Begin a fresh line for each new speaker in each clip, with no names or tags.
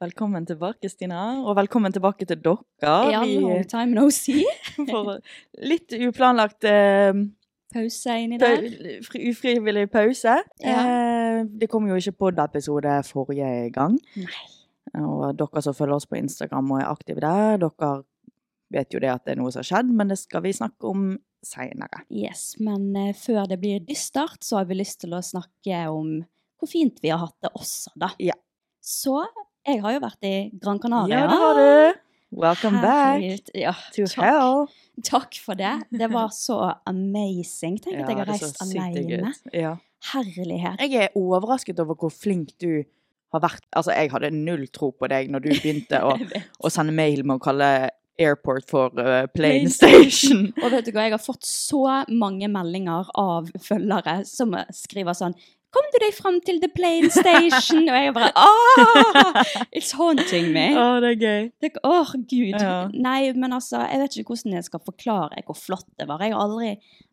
Velkommen tilbake, Stina. Og velkommen tilbake til dere.
Ja,
Vi-
long time no see.
for litt uplanlagt eh,
Pause inni
pau,
der.
fri- ufrivillig pause. Eh, det kom jo ikke pod-episode forrige gang.
Nei.
Og dere som følger oss på Instagram og er aktive der, dere vet jo det at det er noe som har skjedd, men det skal vi snakke om seinere.
Yes, men eh, før det blir dystert, så har vi lyst til å snakke om hvor fint vi har hatt det også, da.
Ja.
Så jeg har jo vært i Gran Canaria.
Ja, det har du! Welcome back
Herregud, Ja,
to
takk,
hell.
takk for det. Det var så amazing. Tenk at jeg har
det er så
reist
sykt digg
alene.
ut. Ja.
Herlighet.
Jeg er overrasket over hvor flink du har vært. Altså, jeg hadde null tro på deg når du begynte å,
Jeg vet.
å sende mail med å kalle airport for eh, plane
Plane
station.
Og vet du hva, jeg har fått så mange meldinger av følgere som skriver sånn Kom du deg fram til The Plane Station? Og jeg bare «Ah!» Åh! It's haunting me.
det er gøy.
Det, åh, gud.
Ja.
Nei, men altså, jeg vet ikke hvordan jeg skal forklare hvor flott det var. Jeg har aldri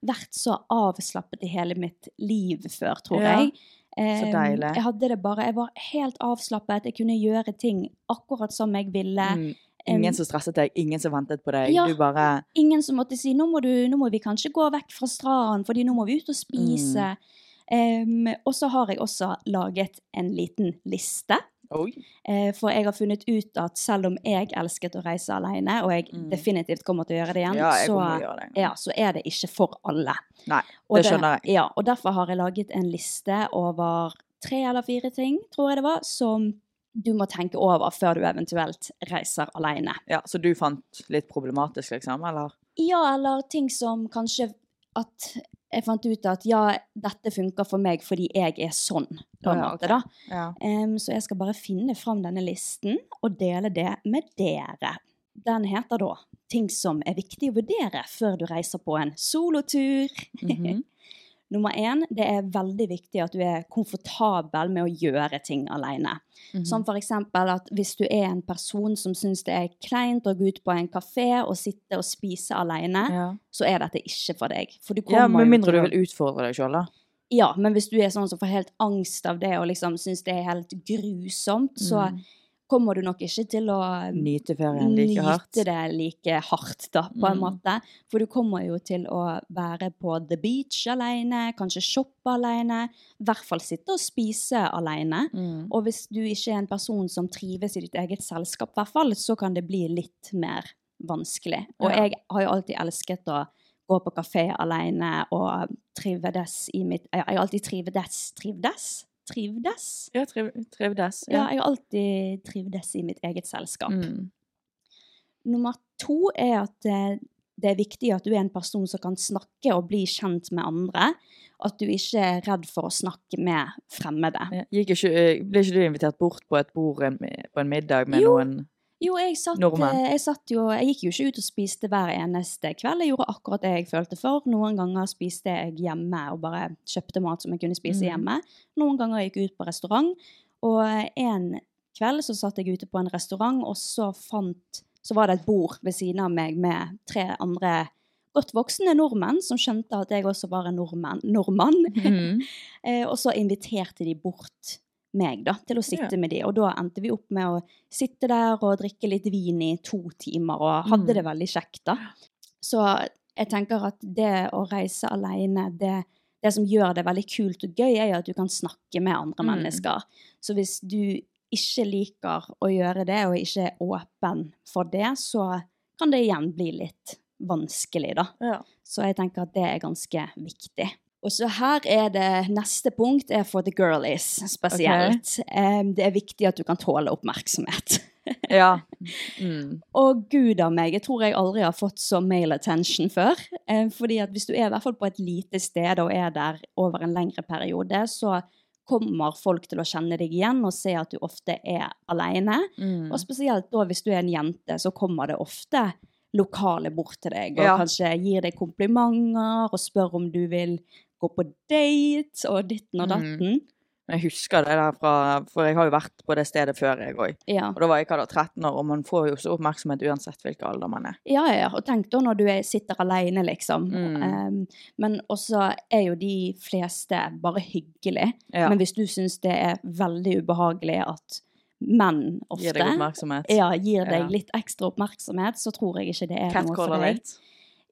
vært så avslappet i hele mitt liv før, tror
Ja.
jeg. Eh,
deilig.
Jeg hadde det bare, jeg var helt avslappet. Jeg kunne gjøre ting akkurat som jeg ville.
Mm.
Em,
Ingen som stresset deg, ingen som ventet på deg.
Ja.
Du bare
Ingen som måtte si nå må, du, 'nå må vi kanskje gå vekk fra stranden, fordi nå må vi
Mm.
ut og spise'. Em, og så har jeg også laget en liten liste.
Oi.
Eh, For jeg har funnet ut at selv om jeg elsket å reise alene, og jeg
Mm.
definitivt kommer til å gjøre det igjen,
Ja, jeg
så,
kommer til å gjøre det.
ja, så er det ikke for alle.
Nei,
Og
det skjønner jeg.
Ja, og derfor har jeg laget en liste over tre eller fire ting, tror jeg det var, som du må tenke over før du eventuelt reiser alene.
Ja, så du fant litt problematisk, liksom? Eller?
Ja, eller ting som kanskje at jeg fant ut at ja, dette funker for meg fordi jeg er sånn, på en
Ja,
måte, da.
Ja.
Em, så jeg skal bare finne fram denne listen og dele det med dere. Den heter da 'Ting som er viktig å vurdere før du reiser på en solotur'.
Mhm.
Nummer én, det er veldig viktig at du er komfortabel med å gjøre ting alene.
Mhm.
Som for eksempel at hvis du er en person som syns det er kleint å gå ut på en kafé og sitte og spise alene,
ja.
så er dette ikke for deg. For du kommer
ja, med
jo til
mindre du
å-
vil utfordre deg sjøl, da.
Ja, men hvis du er sånn som får helt angst av det, og liksom syns det er helt grusomt, så
Mm.
kommer du nok ikke til å
Nyte ferien like hardt.
nyte det like hardt, da, på en
Mm.
måte. For du kommer jo til å være på the beach alene, kanskje shoppe alene, i hvert fall sitte og spise alene.
Mm.
Og hvis du ikke er en person som trives i ditt eget selskap, i hvert fall, så kan det bli litt mer vanskelig. Og
Ja.
jeg har jo alltid elsket å gå på kafé alene og trivdes i mitt Jeg har alltid trivdes Trivdes? Trivdes?
Ja, triv, trivdes.
Ja, jeg har alltid trivdes i mitt eget selskap.
Mm.
Nummer to er at eh, det er viktig at du er en person som kan snakke og bli kjent med andre. At du ikke er redd for å snakke med fremmede.
Ja, Gikk ikke, eh, ble ikke du invitert bort på et bord en, på en middag med
Jo.
noen
Jo, jeg satt,
Nordmenn.
eh, jeg satt jo Jeg gikk jo ikke ut og spiste hver eneste kveld. Jeg gjorde akkurat det jeg følte for. Noen ganger spiste jeg hjemme og bare kjøpte mat som jeg kunne spise
Mhm.
hjemme. Noen ganger gikk jeg ut på restaurant. Og eh, en kveld så satt jeg ute på en restaurant, og så fant Så var det et bord ved siden av meg med tre andre godt voksne nordmenn som skjønte at jeg også var en nordmann. nordmann.
Mm.
Eh, og så inviterte de bort meg da, til å sitte med de. Og da endte vi opp med å sitte der og drikke litt vin i to timer, og hadde
Mm.
det veldig kjekt da. Så jeg tenker at det å reise alene, det, det som gjør det veldig kult og gøy, er jo at du kan snakke med andre
Mm.
mennesker. Så hvis du ikke liker å gjøre det, og ikke er åpen for det, så kan det igjen bli litt vanskelig da.
Ja.
Så jeg tenker at det er ganske viktig. Og så her er det neste punkt er for the girlies spesielt. Em, det er viktig at du kan tåle oppmerksomhet.
ja. Mm.
Og gud av meg, jeg tror jeg aldri har fått så male attention før. Eh, fordi at hvis du er i hvert fall på et lite sted og er der over en lengre periode, så kommer folk til å kjenne deg igjen og se at du ofte er alene.
Mm.
Og spesielt da hvis du er en jente, så kommer det ofte lokale bort til deg, og
Ja.
kanskje gir deg komplimenter, og spør om du vil gå på date, og ditten og
Mm.
datten.
Jeg husker det der fra For jeg har jo vært på det stedet før, jeg òg.
Ja.
Og da var jeg hva da, 13 år, og man får jo så oppmerksomhet uansett hvilken alder man er.
Ja, ja, ja. Og tenk da når du er, sitter alene, liksom.
Mm.
Ehm, men også er jo de fleste bare hyggelige.
Ja.
Men hvis du syns det er veldig ubehagelig at menn ofte
Gir deg oppmerksomhet.
ja, gir deg
Ja.
litt ekstra oppmerksomhet, så tror jeg ikke det er noe for
Catcaller
deg.
litt.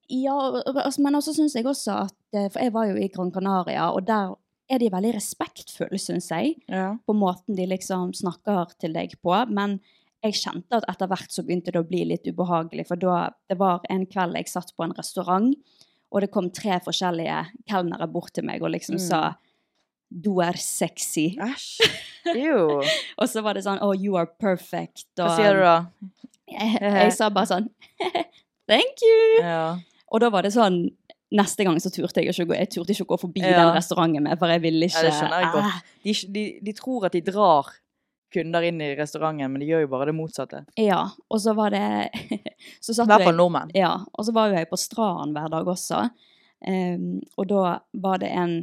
Ja, og- og- altså, men også syns jeg også at eh, For jeg var jo i Gran Canaria, og der er de veldig respektfulle, syns jeg
Ja.
på måten de liksom snakker til deg på, men jeg kjente at etter hvert så begynte det å bli litt ubehagelig, for da, det var en kveld jeg satt på en restaurant, og det kom tre forskjellige kelnere bort til meg og liksom
Mm.
sa «Du er sexy»,
Æsj. Jo.
og så var det sånn «Oh, you are perfect», og
Hva sier du da?
Jeg, jeg sa bare sånn «Thank you»,
Ja.
og da var det sånn Neste gang så turte jeg ikke å gå, jeg turte ikke å gå forbi
Ja.
den restauranten med, for jeg ville ikke...
Ja, det skjønner jeg godt.
Ah.
De, de, de tror at de drar kunder inn i restauranten, men de gjør jo bare det motsatte.
Ja, og så var det... så
I
satt
hvert
jeg-
fall nordmenn.
Ja, og så var jo jeg på Straen hver dag også. Ehm, og da var det en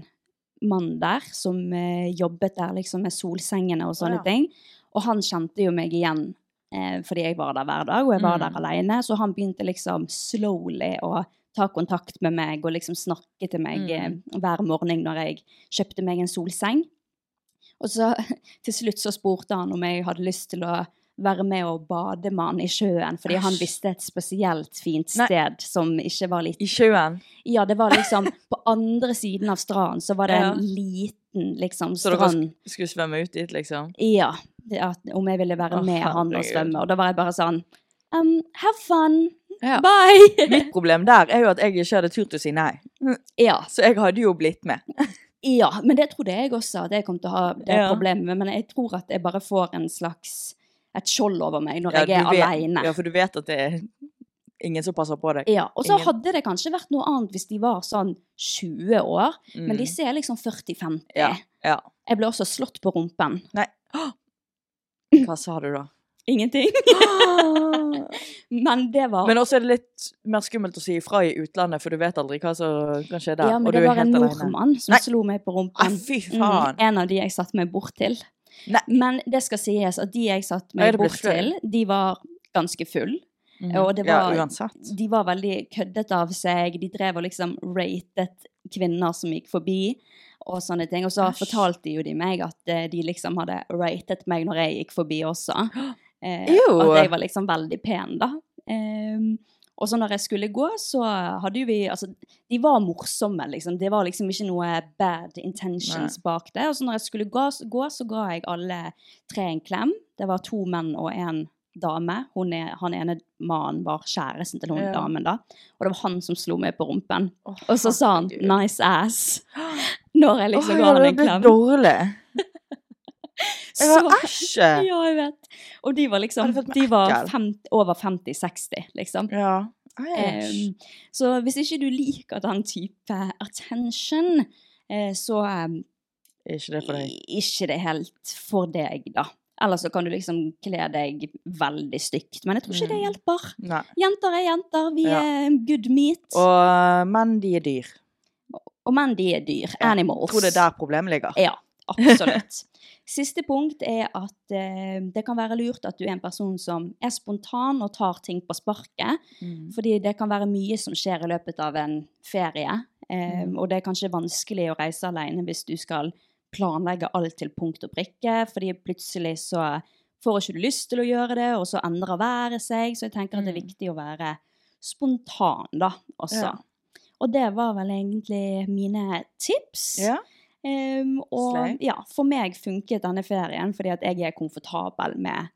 mann der som eh, jobbet der liksom med solsengene og sånne
Å, ja.
ting. Og han kjente jo meg igjen eh, fordi jeg var der hver dag, og jeg var
Mm.
der alene. Så han begynte liksom slowly å ta kontakt med meg og liksom snakke til meg
Mm.
eh, hver morgen når jeg kjøpte meg en solseng. Og så til slutt så spurte han om jeg hadde lyst til å være med og bade med han i sjøen, fordi han
Æsj.
visste et spesielt fint
Nei.
sted som ikke var lite
I sjøen.
Ja, det var liksom på andre siden av stranden, så var det
Ja.
en liten liksom
Så dere
strand.
sk- skulle svømme ut dit, liksom.
Ja, det at, om jeg ville være
Å,
med han og
herregud.
svømme, og da var jeg bare sånn um, Have fun!
Ja.
Bye!
Mitt problem der er jo at jeg ikke hadde turt å si nei.
ja,
Så jeg hadde jo blitt med.
ja, men det trodde jeg også at jeg kom til å ha det
Ja.
problemet med, men jeg tror at jeg bare får en slags et skjold over meg når
Ja,
jeg er
du vet,
aleine.
Ja, for du vet at det er ingen som passer på deg.
Ja, og så
Ingen-
hadde det kanskje vært noe annet hvis de var sånn 20 år,
Mm.
men disse er liksom 40-50.
Ja, ja.
Jeg ble også slått på rumpen.
Nei. Åh! Hva sa du da?
Ingenting. men det var
Men også er det litt mer skummelt å si ifra i utlandet, for du vet aldri hva som kan skje der.
Ja, men
og
det
du
var
er
en
helt alene.
nordmann som
Nei.
slo meg på
Ah,
rumpen.
fy
Mm,
faen!
en av de jeg satt meg bort til.
Nei.
Men det skal sies at de jeg satt
Ja,
meg
det ble
bort
sløy.
til, de var ganske full.
Mhm.
og det var-
Ja, uansett.
De var veldig køddet av seg. De drev og liksom ratet kvinner som gikk forbi, og sånne ting. Og så
Æsj.
fortalte jo de meg at eh, de liksom hadde ratet meg når jeg gikk forbi også. Eh,
Ew.
at jeg var liksom veldig pen, da. Ehm, og så når jeg skulle gå, så hadde jo vi Altså, de var morsomme, liksom. Det var liksom ikke noe bad intentions bak det. Og så når jeg skulle gå, gå, så ga jeg alle tre en klem. Det var to menn og en dame. Hun er, han ene mannen var kjæresten til hun
Ja.
damen, da. Og det var han som slo meg på rumpen.
Åh,
Og så sa han
herregud.
'nice ass' når jeg liksom ga han
det
en
ble
klem.
dårlig. Jeg
Så-
var æsje!
Ja, jeg vet. Og de var liksom
Har du fått
de var
merkel?
fem, over 50-60, liksom.
Ja. Æsj.
Em, så hvis ikke du liker den type attention, eh, så um,
Er ikke det for deg?
ikke det helt for deg, da. Eller så kan du liksom kle deg veldig stygt. Men jeg tror ikke det
Mm.
hjelper.
Nei.
Jenter er jenter. Vi
Ja.
er good meat. Og,
Og, men de er dyr.
menn, de er dyr.
Ja.
Animals. Eh,
Jeg tror det er der problemet ligger.
Ja, absolutt. Siste punkt er at eh, det kan være lurt at du er en person som er spontan og tar ting på sparket.
Mm.
Fordi det kan være mye som skjer i løpet av en ferie. eh,
Mm.
Og det er kanskje vanskelig å reise alene hvis du skal planlegge alt til punkt og prikke, fordi plutselig så får ikke du lyst til å gjøre det, og så endrer været seg. Så jeg tenker at det er
Mm.
viktig å være spontan, da, også.
Ja.
Og det var vel egentlig mine tips.
Ja.
Ehm, og
Slay.
ja, for meg funket denne ferien fordi at jeg er komfortabel med,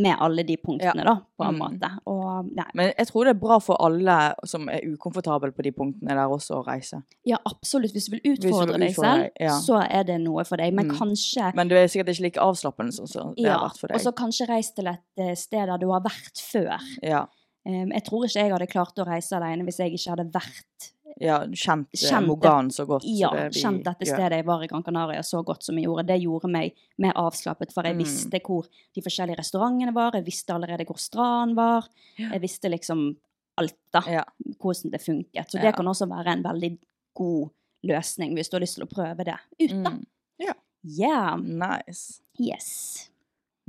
med alle de punktene, da, på en
Mm.
måte. Og nei,
Men jeg tror det er bra for alle som er ukomfortable på de punktene der også, å reise.
ja, absolutt. Hvis du vil
vil
utfordre deg
utfordre
selv,
deg, ja.
så er det noe for deg. Men
Mm.
kanskje
Men du er sikkert ikke like avslappende som som det
ja,
har vært for deg.
Og så kanskje reis til et eh, sted der du har vært før.
ja,
Ehm, jeg tror ikke jeg hadde klart å reise alene hvis jeg ikke hadde vært
ja, kjent, eh,
Kjent det-
Mogan så godt. som
ja,
det vi
kjent dette
gjør.
stedet jeg var i Gran Canaria så godt som jeg gjorde. Det gjorde meg mer avslappet, for jeg
Mm.
visste hvor de forskjellige restaurantene var, jeg visste allerede hvor stranden var, jeg visste liksom alt da,
Ja.
hvordan det funket. Så
Ja.
det kan også være en veldig god løsning hvis du har lyst til å prøve det ut da.
Mm. Ja.
Yeah,
Nice.
yes.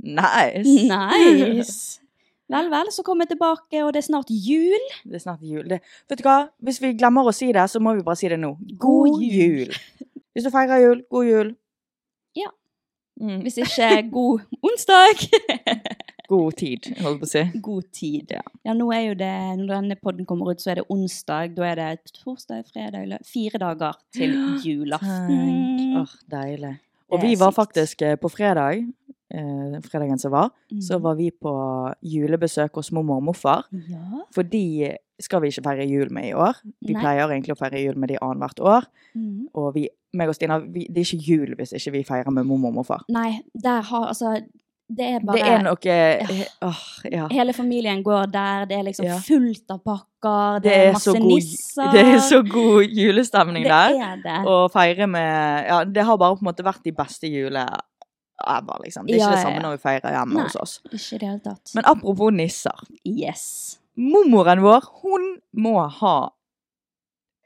Nice.
Nice! Vel, vel, så kommer jeg tilbake, og det er snart jul.
Det er snart jul. Det. Vet du hva? Hvis vi glemmer å si det, så må vi bare si det nå. God
God jul.
jul! Hvis du feirer jul, god jul.
Ja.
Mm.
Hvis ikke, god onsdag!
God tid, holdt på å si.
god tid.
Ja.
Ja. nå er jo det, når denne podden kommer ut, så er det onsdag. Da er det torsdag, fredag, lø- fire dager til
Tenk.
julaften.
Åh, deilig.
Det
Og
er
vi var
sykt.
faktisk eh, på fredag, eh, fredagen som var,
Mm.
så var vi på julebesøk hos mormor og morfar.
Ja.
For de skal vi ikke feire jul med i år. Vi
Nei.
pleier egentlig å feire jul med de annethvert år.
Mm.
Og vi, meg og Stina, vi, det er ikke jul hvis ikke vi feirer med mormor og morfar.
Nei, der har altså Det er bare
Det er noe
Ja.
Åh, ja.
Hele familien går der, det er liksom
Ja.
fullt av pakker, det,
Det
er
er, så
masse
god,
nisser.
det er så god julestemning
Det
der.
er det.
Å feire med Ja, det har bare på en måte vært de beste jule ever, liksom. Det er
Ja,
ikke det
ja,
samme
ja.
når vi feirer hjemme
Nei.
hos oss.
Ikke i det hele tatt.
Men apropos nisser.
yes.
Mormoren vår, hun må ha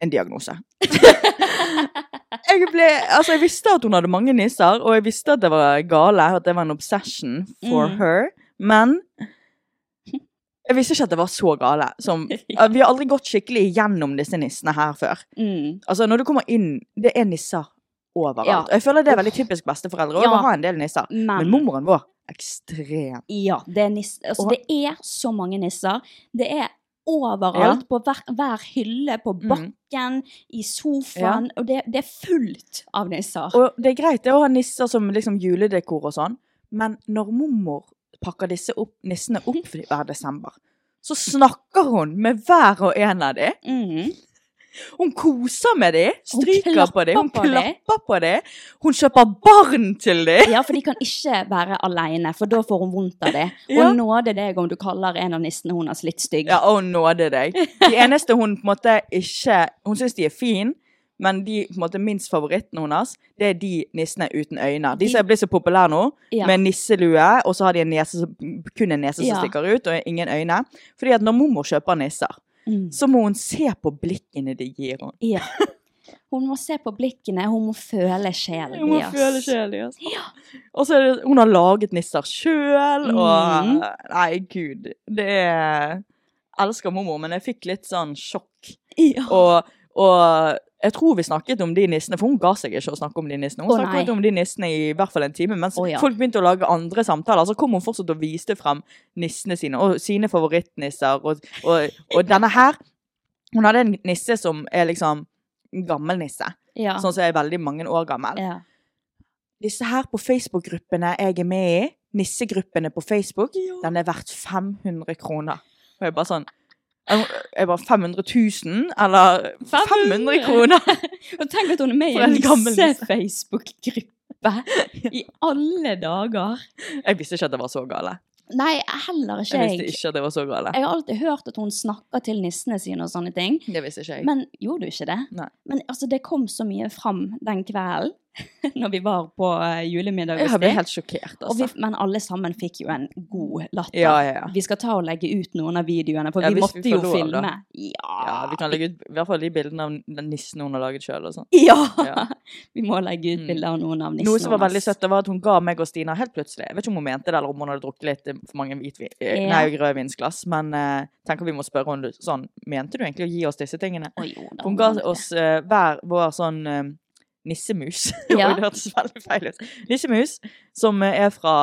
en diagnose. Jeg, ble, altså, jeg visste at hun hadde mange nisser, og jeg visste at det var gale, at det var en obsession for
Mm.
her, men jeg visste ikke at det var så gale. Som, vi har aldri gått skikkelig gjennom disse nissene her før.
Mm.
Altså, når du kommer inn, det er nisser overalt.
Ja.
Og Jeg føler det er veldig typisk besteforeldre å
Ja.
ha en del nisser. Men
Men
mormoren vår, ekstrem.
Ja, det er, nis altså,
Og-
det er så mange nisser. Det er overalt, på hver, hver hylle, på
Mm.
bakken, i sofaen, og det, det er fullt av nisser.
Og det er greit det å ha nisser som liksom juledekor og sånn, men når mormor pakker disse opp, nissene opp for hver desember, så snakker hun med hver og en av dem.
Mhm.
Hun koser med dem, stryker på dem, hun
klapper på de.
klapper på dem. Hun kjøper barn til dem.
Ja, for de kan ikke være alene, for da får hun vondt av det.
Ja.
Og nåde deg om du kaller en av nissene hennes litt stygg.
Ja, å nåde deg. De eneste hun på en måte ikke Hun syns de er fine, men de på en måte minst favoritten hennes, det er de nissene uten øyne. De som er blitt så populære nå,
Ja.
med nisselue, og så har de en nese, som- kun en nese som
Ja.
stikker ut, og ingen øyne. Fordi at når mormor kjøper nisser,
Mm.
så må hun se på blikkene de gir henne.
Ja. Hun må se på blikkene, hun må føle sjelen
Hun må
i oss.
føle sjelen i oss. Og så er det, hun har laget nisser sjøl, og
Mhm.
Nei, gud. Det er jeg Elsker mormor, men jeg fikk litt sånn sjokk.
Ja.
Og, og jeg tror vi snakket om de nissene, for hun ga seg ikke å snakke om de nissene. Hun
Å,
snakket
nei.
om de nissene i hvert fall en time, mens
Å, ja.
folk begynte å lage andre samtaler. Så kom hun fortsatt og viste frem nissene sine, og sine favorittnisser. Og, og, og denne her, hun hadde en nisse som er liksom en gammel nisse,
Ja.
sånn som er veldig mange år gammel.
Ja.
Disse her på Facebook-gruppene jeg er med i, nissegruppene på Facebook, den er verdt 500 kroner. Og jeg bare sånn, jeg bare 500 000, eller 500 kroner.
Og tenk at hun er med i
For
en
en gammel nisse.
nisse-Facebook-gruppe i alle dager.
Jeg visste ikke at det var så gale.
Nei, heller
Jeg
ikke
visste
jeg.
ikke at det var så gale.
Jeg har alltid hørt at hun snakker til nissene sine og sånne ting.
Det visste ikke jeg.
Men gjorde du ikke det?
Nei.
Men altså, det kom så mye fram den kvelden. når vi var på eh, julemiddag
Jeg
hos
ble
deg.
helt sjokkert,
Og
altså.
vi, men alle sammen fikk jo en god latter.
Ja, ja, ja.
Vi skal ta og legge ut noen av videoene, for
Ja,
vi
hvis vi
måtte
får
jo
lov, da.
filme.
ja,
Ja,
vi kan legge ut i hvert fall de bildene av den nissen hun har laget sjøl. og sånn.
Ja!
Ja.
Vi må legge ut
Mm.
bilder av noen av nissene.
Noe som var veldig
hennes.
søtt, det var at hun ga meg og Stina helt plutselig Jeg vet ikke om hun mente det, eller om hun hadde drukket litt eh, for mange hvitvin, eh,
Ja.
nei, rødvinsglass, men eh, tenker vi må spørre henne sånn Mente du egentlig å gi oss disse tingene?
Å, jo, da,
Hun ga
må vi
oss eh, hver vår sånn eh, nissemus.
Ja.
Oi, det hørtes veldig feil ut. Nissemus, som eh, er fra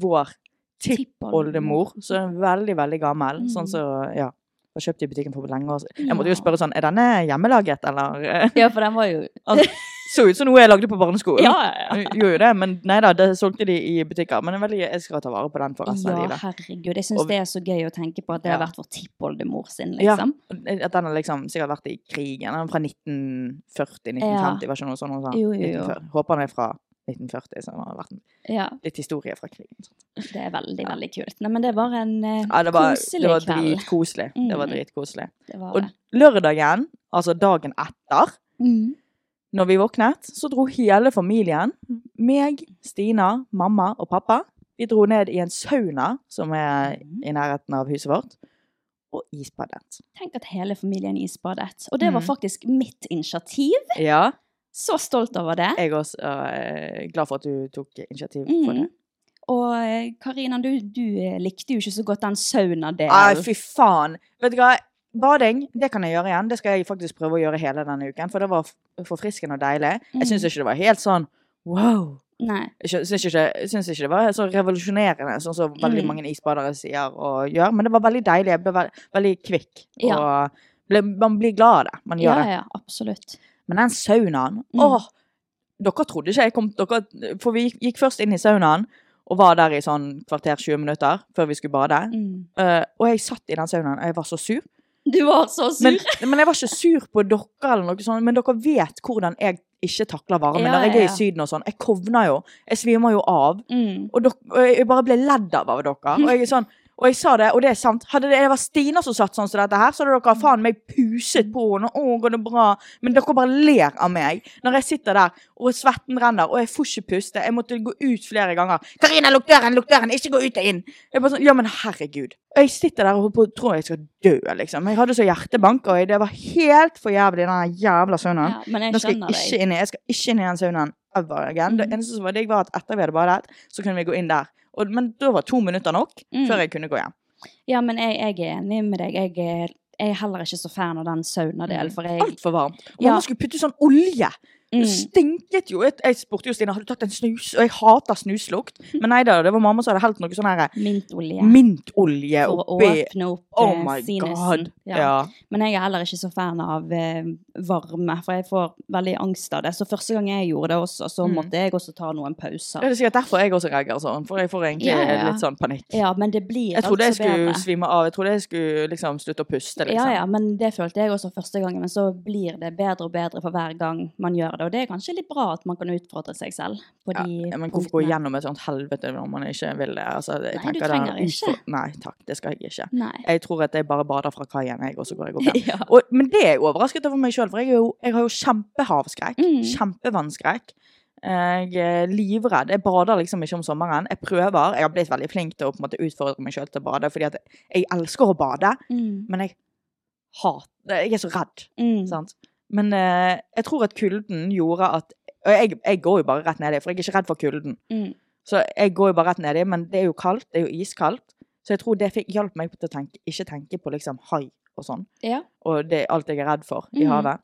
vår
det.
tippoldemor. Så er den veldig, veldig gammel.
Mm.
Sånn så, ja. Var kjøpt i butikken for lenge år siden. Jeg måtte
Ja.
jo spørre sånn Er denne hjemmelaget, eller eh,
Ja, for den var jo
Så ut som noe jeg lagde på barneskolen.
Ja, ja, ja.
Gjorde jo det, men nei da, det solgte de i butikker. Men det er veldig, jeg skal ta vare på den for resten av
Ja,
livet.
herregud. Jeg syns
altså Og-
det er så gøy å tenke på at det har
Ja.
vært vår tippoldemor sin,
Ja.
liksom.
At den har liksom sikkert vært i krigen. Den er fra 1940-1950, var ikke noe sånn hun sa?
Jo, jo, jo.
1940. Håper han er fra 1940, så det har vært
Ja.
litt historie fra krigen. sånn
Det er veldig, veldig kult. Nei, men det var en eh,
Ja, det var,
koselig
det var
kveld.
dritkoselig. Det var
Mm.
dritkoselig.
Det var
Og
det.
lørdagen, altså dagen etter,
Mm.
Når vi våknet, så dro hele familien, meg, Stina, mamma og pappa, vi dro ned i en sauna som er i nærheten av huset vårt, og isbadet.
Tenk at hele familien isbadet. Og det var
Mm.
faktisk mitt initiativ.
Ja.
Så stolt over det.
Jeg er også eh, glad for at du tok initiativ for det.
Mm. Og eh, Karina, du, du eh, likte jo ikke så godt den saunadelen.
Nei, fy faen. Vet du hva? Bading, det kan jeg gjøre igjen. Det skal jeg faktisk prøve å gjøre hele denne uken, for det var f- forfriskende og deilig. Jeg syns
Mm.
ikke det var helt sånn wow.
Nei.
Jeg syns ikke, jeg synes ikke det var så revolusjonerende, sånn som veldig
Mm.
mange isbadere sier og gjør, men det var veldig deilig. Jeg ble veld, veldig kvikk.
Ja.
Og ble, man blir glad av det. Man
Ja,
gjør det.
ja, absolutt.
Men den saunaen
Mm.
Åh! Dere trodde ikke jeg kom dere, For vi gikk, gikk først inn i saunaen og var der i sånn kvarter 20 minutter før vi skulle bade.
Mm.
Eh, og jeg satt i den saunaen, og jeg var så sur.
Du var så sur.
Men, men jeg var ikke sur på dere, eller noe sånt, men dere vet hvordan jeg ikke takler varme.
Ja,
Når jeg
ja,
er
ja.
i Syden og sånn. Jeg kovner jo. Jeg svimer jo av.
mm.
Og, dok- og jeg bare ble ledd av av dere. Og jeg, er sånn, og jeg sa det, og det er sant. Hadde det, det var Stina som satt sånn som dette her, så hadde dere faen meg puset på henne. og, Å, går det bra? Men dere bare ler av meg. Når jeg sitter der, og svetten renner, og jeg får ikke puste. Jeg måtte gå ut flere ganger. 'Karina, lukk døren, lukk døren! Ikke gå ut og inn!' Jeg bare sånn, Ja, men herregud. Og jeg sitter der og holder på å tro jeg skal dø, liksom. Jeg hadde så hjertebank, og jeg- det var helt for jævlig, den jævla saunaen.
Ja, men jeg
Nå skal jeg
skjønner
ikke
deg.
inn i, jeg skal ikke inn i den saunaen ever again. Det
Mhm.
eneste som var digg, var at etter vi hadde badet, så kunne vi gå inn der. Og, men da var to minutter nok
Mm.
før jeg kunne gå hjem.
Ja, men jeg, jeg er enig med deg. Jeg er, jeg er heller ikke så fan av den
Mm.
saunadelen, for jeg
Altfor varmt. Og
Ja.
man skulle putte sånn olje. Det
mm.
stinket jo. Jeg, jeg spurte jo Stina har du tatt en snus, og jeg hater snuslukt. Men nei da, det var mamma som hadde helt noe sånn her
Mintolje.
mintolje
for å
oppi.
åpne opp
Oh
eh,
my
sinusen.
god.
Ja.
Ja.
Men jeg er heller ikke så fan av eh, varme, for jeg får veldig angst av det. Så første gang jeg gjorde det også, så
Mm.
måtte jeg også ta noen
Det
pauser.
er sikkert derfor jeg også reagerer sånn, for jeg får egentlig
Ja, ja.
litt sånn panikk.
Ja, men det blir
Jeg trodde jeg
altså
skulle
bedre.
svime av. Jeg trodde jeg skulle liksom slutte å puste. Liksom.
Ja, ja, men det følte jeg også første gangen, men så blir det bedre og bedre for hver gang man gjør det. Og det er kanskje litt bra at man kan utfordre seg selv på
Ja,
de
ja, men hvorfor gå
punktene.
gjennom et sånt helvete når man ikke vil det? Altså, jeg
Nei, du
tenker det er
trenger ikke.
utfor- Nei takk, det skal jeg ikke.
Nei.
Jeg tror at jeg bare bader fra kaien, jeg, og så går jeg opp igjen.
Ja.
Og, men det er jeg overrasket over meg sjøl, for jeg, er jo, jeg har jo kjempehavskrekk.
Mm.
Kjempevannskrekk. Jeg er livredd. Jeg bader liksom ikke om sommeren. Jeg prøver. Jeg har blitt veldig flink til å på en måte utfordre meg sjøl til å bade, fordi at jeg elsker å bade,
Mm.
men jeg hater Jeg er så redd.
Mm.
Sant? Men eh, jeg tror at kulden gjorde at Og jeg, jeg går jo bare rett nedi, for jeg er ikke redd for kulden.
Mm.
Så jeg går jo bare rett nedi, men det er jo kaldt. Det er jo iskaldt. Så jeg tror det fikk, hjalp meg til å tenke, ikke tenke på liksom hai og sånn,
Ja.
og det, alt jeg er redd for i
Mhm.
havet.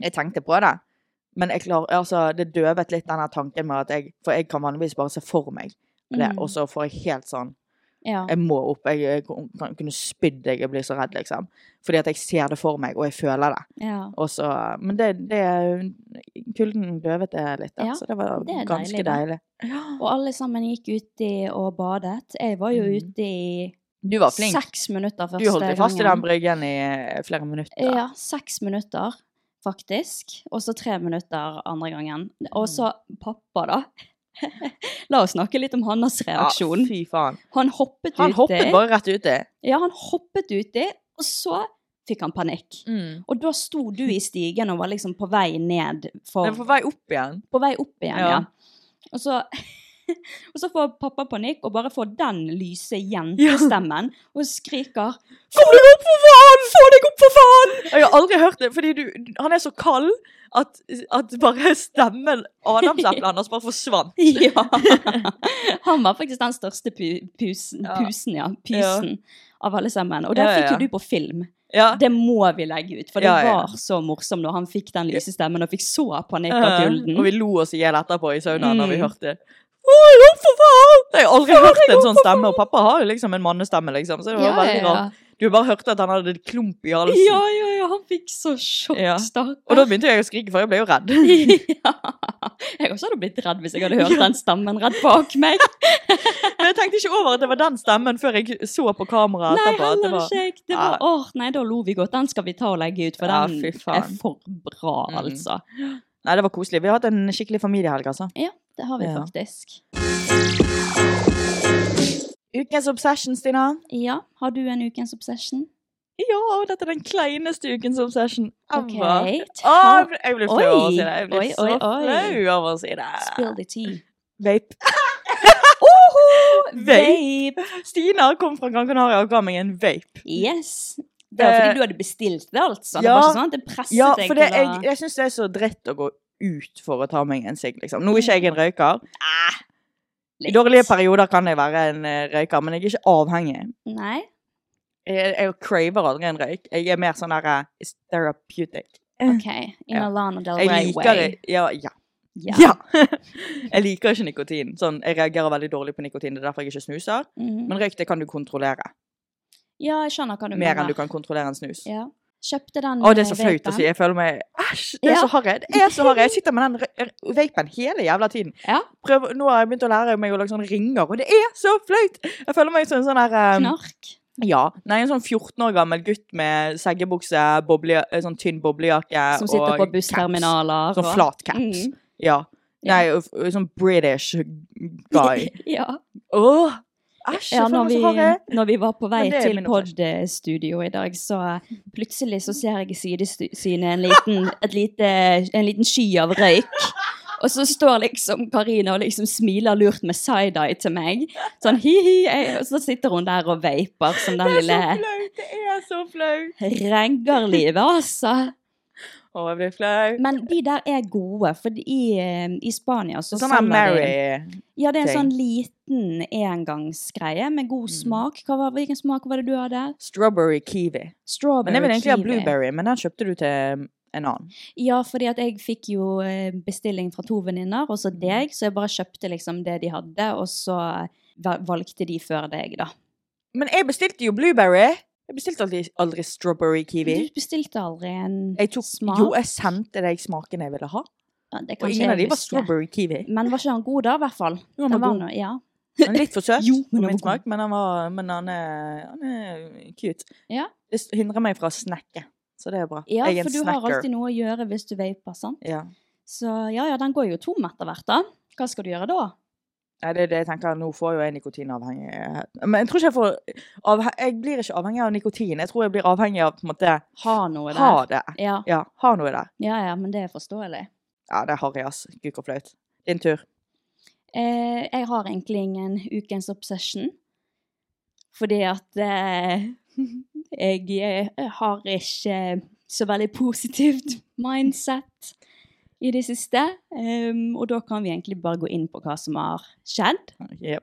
Jeg tenkte på det, men jeg klar, altså, det døvet litt denne tanken med at jeg For jeg kan vanligvis bare se for meg det,
Mm.
og så får jeg helt sånn
Ja.
jeg må opp. Jeg, jeg kan- kunne spydd deg, jeg blir så redd, liksom. Fordi at jeg ser det for meg, og jeg føler det.
ja.
Og så, men det, det Kulden døvet det litt, da,
Ja,
så det var
det er
ganske
deilig, da.
deilig.
Og alle sammen gikk uti og badet. Jeg var jo
Mm.
ute i
Du var flink.
seks minutter første
Du holdt deg fast i den
gangen.
bryggen i flere minutter.
Ja, seks minutter, faktisk. Og så tre minutter andre gangen. Og
Mm.
så pappa, da. La oss snakke litt om hans reaksjon.
Ja, fy faen.
Han hoppet
Han
uti.
hoppet bare rett uti.
Ja, han hoppet uti, og så fikk han panikk.
Mm.
Og da sto du i stigen og var liksom på vei ned
Det
for
er på vei opp igjen.
på vei opp igjen, ja.
Ja.
Og, så, og så får pappa panikk og bare får den lyse jentestemmen og skriker
Få deg opp, for faen! Få deg opp, for faen! Og Jeg har aldri hørt det, fordi du, han er så kald at, at bare stemmen Adamseplet hans bare forsvant.
Ja! Han var faktisk den største pu pusen,
Ja.
pusen, ja. Pysen av alle sammen. Og det
Ja, ja,
fikk
ja.
jo du på film.
Ja.
Det må vi legge ut, for det
Ja, ja.
var så morsomt når han fikk den lyse stemmen og fikk så panikk av
Ja, Eh, Og vi
kulden.
lo oss i hjel etterpå i saunaen når vi
Mm.
hørte Få deg opp, for faen! Jeg har aldri hørt en sånn stemme, og pappa har jo liksom en mannestemme, liksom, så det var
Ja, ja,
veldig
ja.
rart. Du bare hørte at han hadde en klump i halsen.
Ja, ja, ja, han fikk så sjokk,
Ja.
stakkar.
Og da begynte jeg å skrike, for jeg ble jo redd.
ja. Jeg også hadde blitt redd hvis jeg hadde hørt den stemmen rett bak meg.
Men jeg tenkte ikke over at det var den stemmen før jeg så på kameraet
Nei,
etterpå. at det
heller
var-
ikke. jeg. Det var, åh, nei, da lo vi godt. Den skal vi ta og legge ut, for
Ja,
den
fy
er
faen.
for bra,
Mm.
altså.
Nei, det var koselig. Vi har hatt en skikkelig familiehelg, altså.
Ja, det har vi
Ja.
faktisk.
Ukens obsession, Stina.
Ja, har du en ukens obsession?
Ja, dette er den kleineste ukens obsession
Ok,
ever.
ta,
Å, jeg blir flau av å
Oi,
si det. Jeg blir
oi,
så
oi, oi.
flau av å si
spill
det.
the tea.
Vape.
Vape!
Stina kom fra Gran Canaria og ga meg en vape.
Yes. Det var
Eh,
fordi du hadde bestilt det, altså. Det
ja.
var ikke sånn at det presset
Ja,
deg
for det,
til
jeg,
å...
jeg syns det er så dritt å gå ut for å ta meg en sigg, liksom. Nå er ikke jeg en røyker. I
Litt.
dårlige perioder kan jeg være en eh, røyker, men jeg er ikke avhengig.
Nei.
Jeg, jeg craver aldri en røyk. Jeg er mer sånn derre it's therapeutic.
Ok, in
Mm. Ja.
a Lana Del
Jeg
Rey
liker
way.
Ja. ja.
Ja.
ja. jeg liker ikke nikotin. Sånn, jeg reagerer veldig dårlig på nikotin. Det er derfor jeg ikke snuser.
Mhm.
Men røyk det kan du kontrollere.
ja, jeg skjønner hva du
Mer enn du
mener.
kan kontrollere en snus.
Ja. Kjøpte den
Å, det er så
eh,
flaut å
vapen.
si. Jeg føler meg Æsj, det er
Ja.
så harry. Det er så harry. Jeg sitter med den rø- rø- vapen hele jævla tiden.
Ja.
Prøv, nå har jeg begynt å lære meg å lage sånne ringer, og det er så flaut! Jeg føler meg som en sånn her um,
Knark.
Ja. Nei, en sånn 14 år gammel gutt med seggebukse, boble, eh, sånn tynn boblejakke
Som sitter på
caps.
bussterminaler.
Sånn
og-
flat caps.
Mm.
Ja.
Ja.
Nei, og f- og sånn British guy.
Ja,
Åh! Æsj,
ja når,
jeg føler meg
vi,
så harry.
når vi var på vei
Men det er
til
min oppskrift.
podstudio i dag, så eh, plutselig så ser jeg i sidesynet en liten, et lite, en liten sky av røyk. Og så står liksom Karina og liksom smiler lurt med side-eye til meg. Sånn hi-hi. jeg- Og så sitter hun der og vaper som den
Det er så
lille
flaut! Det er så flaut!
reggerlivet, altså.
Å, jeg blir flau.
Men de der er gode, for i, eh, i Spania så
Sånn er
selger de-
Mary.
Ja, det er en
ting.
sånn liten engangsgreie med god
Mm.
smak. Hva var, hvilken smak var det du hadde?
Strawberry kiwi. Men
Strawberry
jeg vil egentlig ha
kiwi.
blueberry, men den kjøpte du til en annen.
Ja, fordi at jeg fikk jo eh, bestilling fra to venninner, og
Mm.
så deg, så jeg bare kjøpte liksom det de hadde, og så eh, va- valgte de før deg, da.
Men jeg bestilte jo blueberry. Jeg bestilte aldri, aldri strawberry kiwi.
Du bestilte aldri en
Jeg tok,
smak?
jo, jeg sendte deg smaken jeg ville ha.
Ja, det
Og
kan ikke
ingen av
jeg
de var
huske.
strawberry kiwi.
Men var ikke han god da, i hvert fall?
Jo, han
Den
var
var
god.
nå- ja.
Han er litt for søt
Jo, men
for
han
min
var god.
smak, men han, var, men han, er, han er cute.
Ja.
Det s- hindrer meg fra å snakke, så det er bra.
ja,
jeg er
for
en
du har
snacker.
alltid noe å gjøre hvis du vaper, sant?
Ja.
Så ja, ja, den går jo tom etter hvert, da. Hva skal du gjøre da?
Nei, det er det jeg tenker. Nå får jo jeg nikotinavhengighet. Men jeg tror ikke jeg får avhe Jeg blir ikke avhengig av nikotin. Jeg tror jeg blir avhengig av på en måte
Ha noe der.
Ha det.
Ja.
Ja, ha noe der.
Ja, ja, men det er forståelig.
Ja, det er harry, ass. Gud, hvor flaut. Din tur.
Eh, jeg har egentlig ingen ukens obsession. Fordi at eh, jeg eh, har ikke så veldig positivt mindset i det siste. Em, og da kan vi egentlig bare gå inn på hva som har skjedd.
Jep.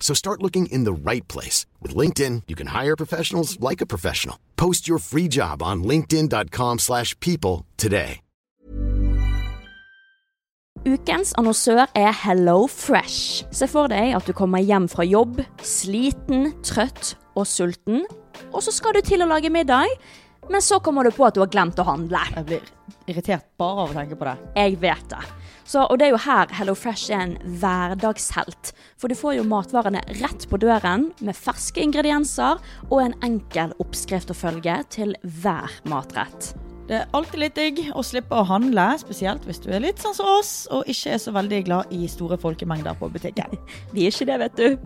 So start looking in the right place. With LinkedIn, you can hire professionals like a professional. Post your free job on linkedin.com/people slash people today.
Ukens annonsør er Hello Fresh. Se for deg at du kommer hjem fra jobb, sliten, trøtt og sulten, og så skal du til å lage middag, men så kommer du på at du har glemt å handle.
Jeg blir irritert bare av å tenke på det.
Jeg vet det. Så, og det er jo her Hello Fresh er en hverdagshelt. For du får jo matvarene rett på døren med ferske ingredienser og en enkel oppskrift å følge til hver matrett.
Det er alltid litt digg å slippe å handle, spesielt hvis du er litt sånn som oss og ikke er så veldig glad i store folkemengder på butikken.
Vi er ikke det, vet du.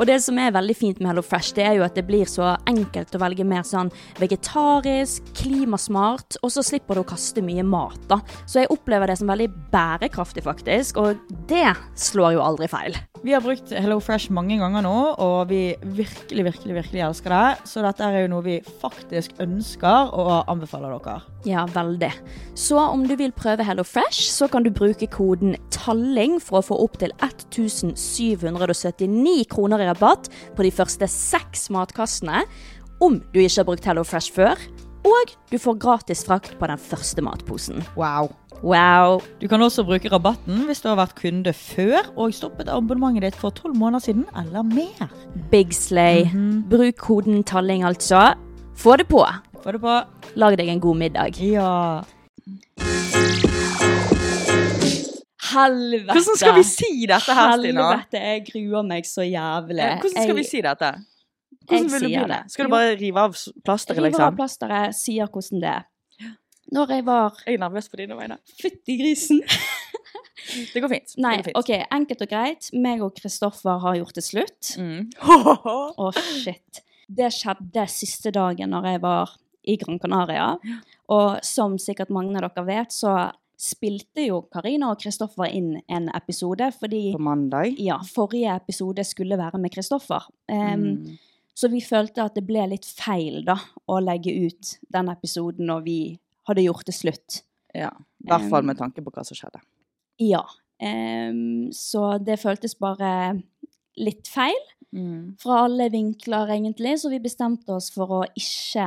Og det som er veldig fint med Hello Fresh, det er jo at det blir så enkelt å velge mer sånn vegetarisk, klimasmart, og så slipper du å kaste mye mat, da. Så jeg opplever det som veldig bærekraftig, faktisk, og det slår jo aldri feil.
Vi har brukt Hello Fresh mange ganger nå, og vi virkelig, virkelig, virkelig elsker det. Så dette er jo noe vi faktisk ønsker og anbefaler dere.
Ja, veldig. Så om du vil prøve Hello Fresh, så kan du bruke koden TALLING for å få opptil 1779 kroner i rabatt på de første seks matkassene, om du ikke har brukt Hello Fresh før, og du får gratis frakt på den første matposen.
Wow.
Wow!
Du kan også bruke rabatten hvis du har vært kunde før og stoppet abonnementet ditt for tolv måneder siden eller mer.
Big slay. Bruk koden TALLING, altså. Få det på!
Få det på.
Lag deg en god middag.
Ja.
Helvete!
Hvordan skal vi si dette her, Stina?
Helvete, jeg gruer meg så jævlig.
Hvordan skal vi si dette? Hvordan
jeg
vil du
sier
begynne?
det.
Skal du bare rive av s- plasteret,
River av
liksom?
plasteret, sier hvordan det er. Når jeg var
Jeg er nervøs på dine vegne.
fytti grisen.
Det går fint.
Nei,
det går fint.
ok, enkelt og greit. Meg og Kristoffer har gjort det slutt.
Mm.
Å, shit. Det skjedde siste dagen når jeg var i Gran Canaria. Og som sikkert mange av dere vet, så spilte jo Karina og Kristoffer inn en episode, fordi
På mandag.
ja, forrige episode skulle være med Kristoffer. Em,
Mm.
Så vi følte at det ble litt feil da, å legge ut den episoden når vi hadde gjort det slutt.
Ja. I hvert fall med tanke på hva som skjedde.
Ja. em, så det føltes bare litt feil
Mm.
fra alle vinkler, egentlig, så vi bestemte oss for å ikke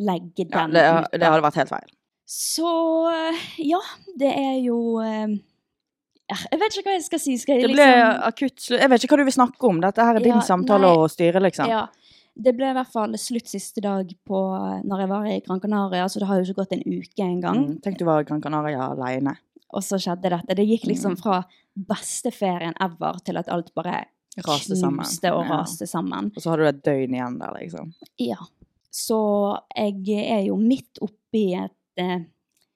legge
Ja,
den
det,
ut.
det
da.
hadde vært helt feil.
Så ja, det er jo em, ja, Jeg vet ikke hva jeg skal si. Skal jeg liksom
Det ble akutt slutt. Jeg vet ikke hva du vil snakke om. Dette her er din
Ja,
samtale
nei.
å styre, liksom.
Ja. Det ble i hvert fall slutt siste dag på når jeg var i Gran Canaria, så det har jo ikke gått en uke engang.
Mm. Tenk du var i Gran Canaria aleine.
Og så skjedde dette. Det gikk
Mm.
liksom fra beste ferien ever til at alt bare
Raste sammen.
knuste og
Ja.
raste sammen.
Og så hadde du et døgn igjen der, liksom.
Ja. Så jeg er jo midt oppi et eh,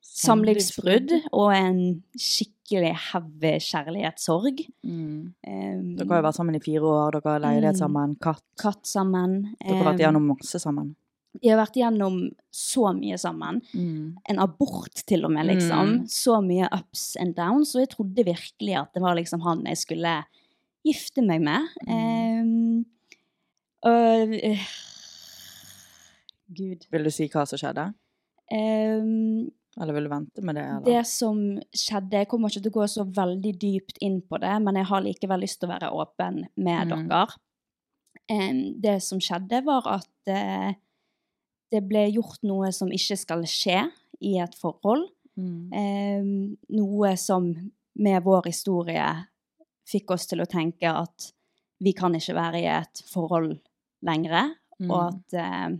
samlivsbrudd og en skikkelig heavy kjærlighetssorg. Um,
Mm. Dere har jo vært sammen i fire år, dere har leilighet
Mm.
sammen, katt.
katt eh, sammen.
Dere har
Em,
vært igjennom masse sammen.
Vi har vært igjennom så mye sammen. en abort til og med, liksom.
Mm.
Så mye ups and downs, og jeg trodde virkelig at det var liksom han jeg skulle gifte meg med.
Mm.
Eh, og, eh, Gud.
Vil du si hva som skjedde?
Eh,
Eller vil du vente med det? Eller?
det som skjedde, jeg kommer ikke til å gå så veldig dypt inn på det, men jeg har likevel lyst til å være åpen med
Mm.
dere. Em, det som skjedde, var at eh, det ble gjort noe som ikke skal skje i et forhold. Em,
Mm.
Ehm, noe som med vår historie fikk oss til å tenke at vi kan ikke være i et forhold lenger,
Mm.
og at eh,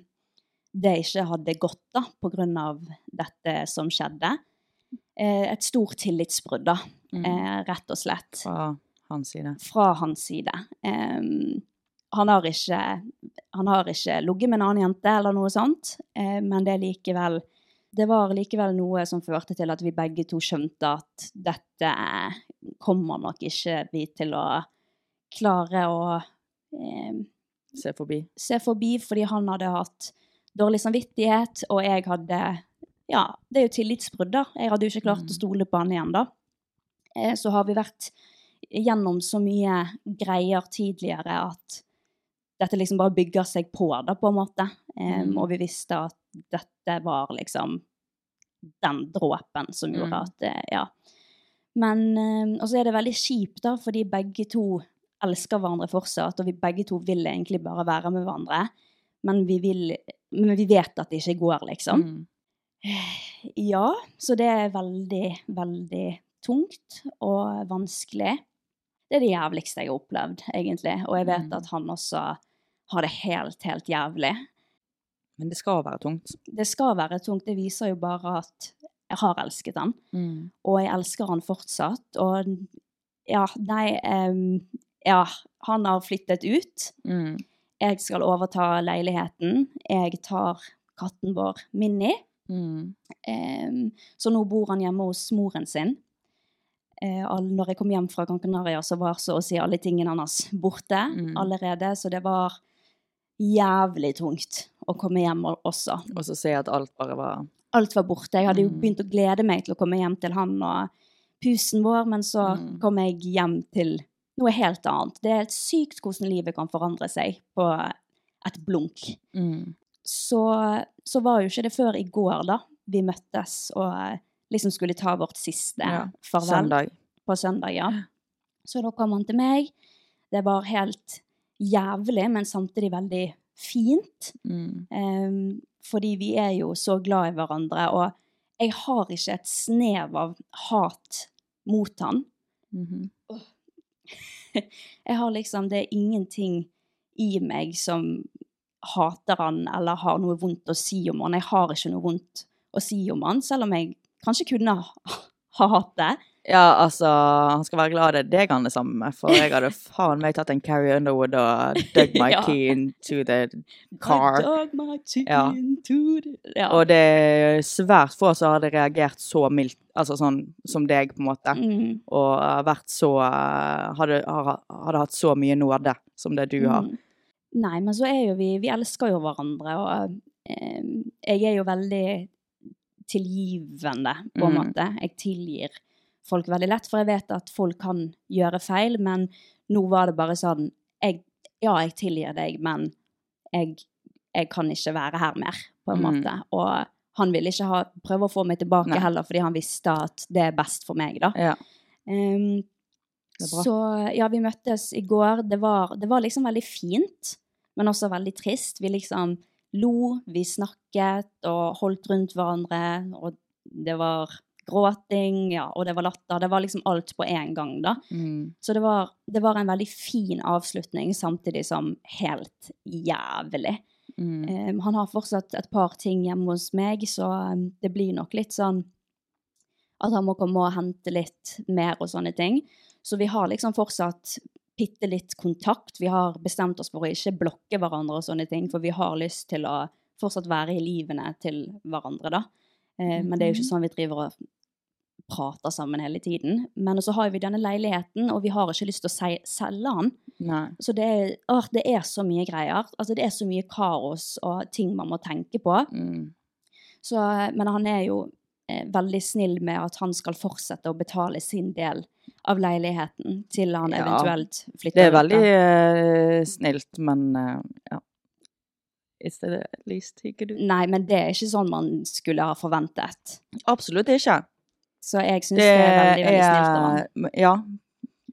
det ikke hadde gått da, på grunn av dette som skjedde. Eh, et stort tillitsbrudd, da,
Mm.
eh, rett og slett,
Fra hans side.
fra hans side. Em, han har ikke, han har ikke ligget med en annen jente eller noe sånt, eh, men det er likevel det var likevel noe som førte til at vi begge to skjønte at dette kommer nok ikke vi til å klare å eh,
Se forbi.
se forbi, fordi han hadde hatt dårlig samvittighet, og jeg hadde Ja, det er jo tillitsbrudd, da. Jeg hadde jo ikke klart
Mm.
å stole på han igjen, da. Eh, Så har vi vært gjennom så mye greier tidligere at dette liksom bare bygger seg på, da, på en måte. Em,
Mm.
Og vi visste at dette var liksom den dråpen som gjorde
Mm.
at eh, Ja. Men eh, Og så er det veldig kjipt, da, fordi begge to elsker hverandre fortsatt, og vi begge to vil egentlig bare være med hverandre. Men vi, vil, men vi vet at det ikke går, liksom.
Mm.
Ja, så det er veldig, veldig tungt og vanskelig. Det er det jævligste jeg har opplevd, egentlig. Og jeg vet
Mm.
at han også har det helt, helt jævlig.
Men det skal være tungt.
Det skal være tungt. Det viser jo bare at jeg har elsket han. Og jeg elsker han fortsatt. Og ja, nei em, Ja, han har flyttet ut.
Mm.
Jeg skal overta leiligheten. Jeg tar katten vår, Minni.
Mm.
Em, så nå bor han hjemme hos moren sin. Eh, all- når jeg kom hjem fra Gran Canaria, så var så å si alle tingene hans borte
Mm.
allerede. Så det var jævlig tungt å komme hjem og- også.
Og så se at alt bare var
Alt var borte. Jeg hadde jo
Mm.
begynt å glede meg til å komme hjem til han og pusen vår, men så
Mm.
kom jeg hjem til noe helt annet. Det er helt sykt hvordan livet kan forandre seg på et blunk Mm. så, så var jo ikke det før i går, da, vi møttes og eh, liksom skulle ta vårt siste
Ja,
farvel
Søndag.
på søndag. ja. Så da kom han til meg. Det var helt jævlig, men samtidig veldig fint. Ehm, fordi vi er jo så glad i hverandre, og jeg har ikke et snev av hat mot han. Mhm. Jeg har liksom Det er ingenting i meg som hater han eller har noe vondt å si om han. Jeg har ikke noe vondt å si om han, selv om jeg kanskje kunne ha, ha hatt det.
Ja, altså, han skal være glad det er deg han er sammen med, for jeg hadde faen meg tatt en Carrie Underwood og dug my
Ja.
key into the car.
I dug my chin
Ja.
to the- ja.
Og det er svært få som hadde reagert så mildt, altså sånn som deg, på en måte.
Mm,
Og uh, vært så uh, hadde, har- hadde hatt så mye nåde som det du har.
mm. Nei, men så er jo vi Vi elsker jo hverandre, og eh, jeg er jo veldig tilgivende, på en
Mm.
måte. Jeg tilgir folk veldig lett, for jeg vet at folk kan gjøre feil, men nå var det bare sånn jeg, Ja, jeg tilgir deg, men jeg, jeg kan ikke være her mer, på en
Mm.
måte. Og han ville ikke ha, prøve å få meg tilbake
Nei.
heller, fordi han visste at det er best for meg, da.
Ja.
Ehm,
Det er bra.
Så ja, vi møttes i går. Det var, det var liksom veldig fint, men også veldig trist. Vi liksom lo, vi snakket og holdt rundt hverandre, og det var gråting, ja, og det var latter. Det var liksom alt på én gang, da.
Mm.
Så det var, det var en veldig fin avslutning, samtidig som helt jævlig.
mm.
Ehm, han har fortsatt et par ting hjemme hos meg, så ehm, det blir nok litt sånn at han må komme og hente litt mer og sånne ting. Så vi har liksom fortsatt bitte litt kontakt. Vi har bestemt oss for å ikke blokke hverandre og sånne ting, for vi har lyst til å fortsatt være i livene til hverandre, da. Eh, Men det er jo ikke sånn vi driver og prater sammen hele tiden. Men så har vi denne leiligheten, og vi har ikke lyst til å sei- selge den.
Nei.
Så det er, åh, det er så mye greier. Altså, det er så mye kaos og ting man må tenke på.
Mm.
Så, men han er jo eh, veldig snill med at han skal fortsette å betale sin del av leiligheten til han
Ja.
eventuelt flytter
Det er
ut,
veldig
da.
uh, snilt, men uh, ja. Is it at least he could do?
Nei, men det er ikke sånn man skulle ha forventet.
Absolutt ikke.
Så jeg syns det, er veldig, veldig snilt av han.
er- Ja.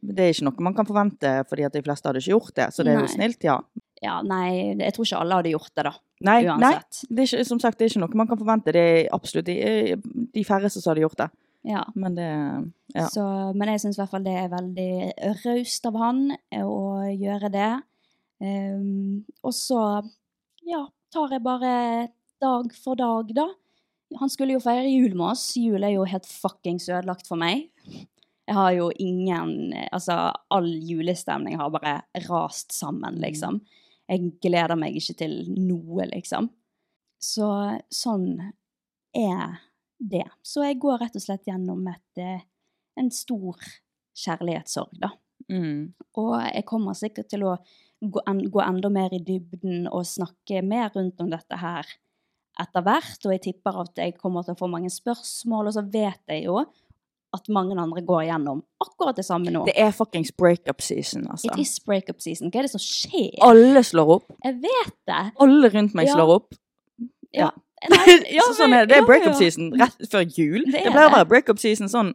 Det er ikke noe man kan forvente, fordi at de fleste hadde ikke gjort det. Så det er jo
Nei.
snilt, ja.
Ja, nei, jeg tror ikke alle hadde gjort det, da.
Nei, nei.
Uansett.
Det er ikke, som sagt, det er ikke noe man kan forvente. Det er absolutt de, de færreste som hadde gjort det.
Ja.
Men det Ja.
Så, men jeg syns i hvert fall det er veldig raust av han eh, å gjøre det. Ehm, og så, ja, tar jeg bare dag for dag, da. Han skulle jo feire jul med oss. Jul er jo helt fuckings ødelagt for meg. Jeg har jo ingen Altså, all julestemning har bare rast sammen, liksom. Jeg gleder meg ikke til noe, liksom. Så sånn er det. Så jeg går rett og slett gjennom et, eh, en stor kjærlighetssorg, da.
Mm.
Og jeg kommer sikkert til å gå, en, gå enda mer i dybden og snakke mer rundt om dette her etter hvert, og jeg tipper at jeg kommer til å få mange spørsmål, og så vet jeg jo at mange andre går gjennom akkurat det samme nå.
Det er fuckings breakup season, altså.
It is breakup season. Hva er det som skjer?
Alle slår opp.
Jeg vet det!
Alle rundt meg
Ja.
slår opp.
Ja.
sånn så sånn er det. Det er breakup season rett før jul.
Det
Det,
er
pleier å
det.
være breakup season sånn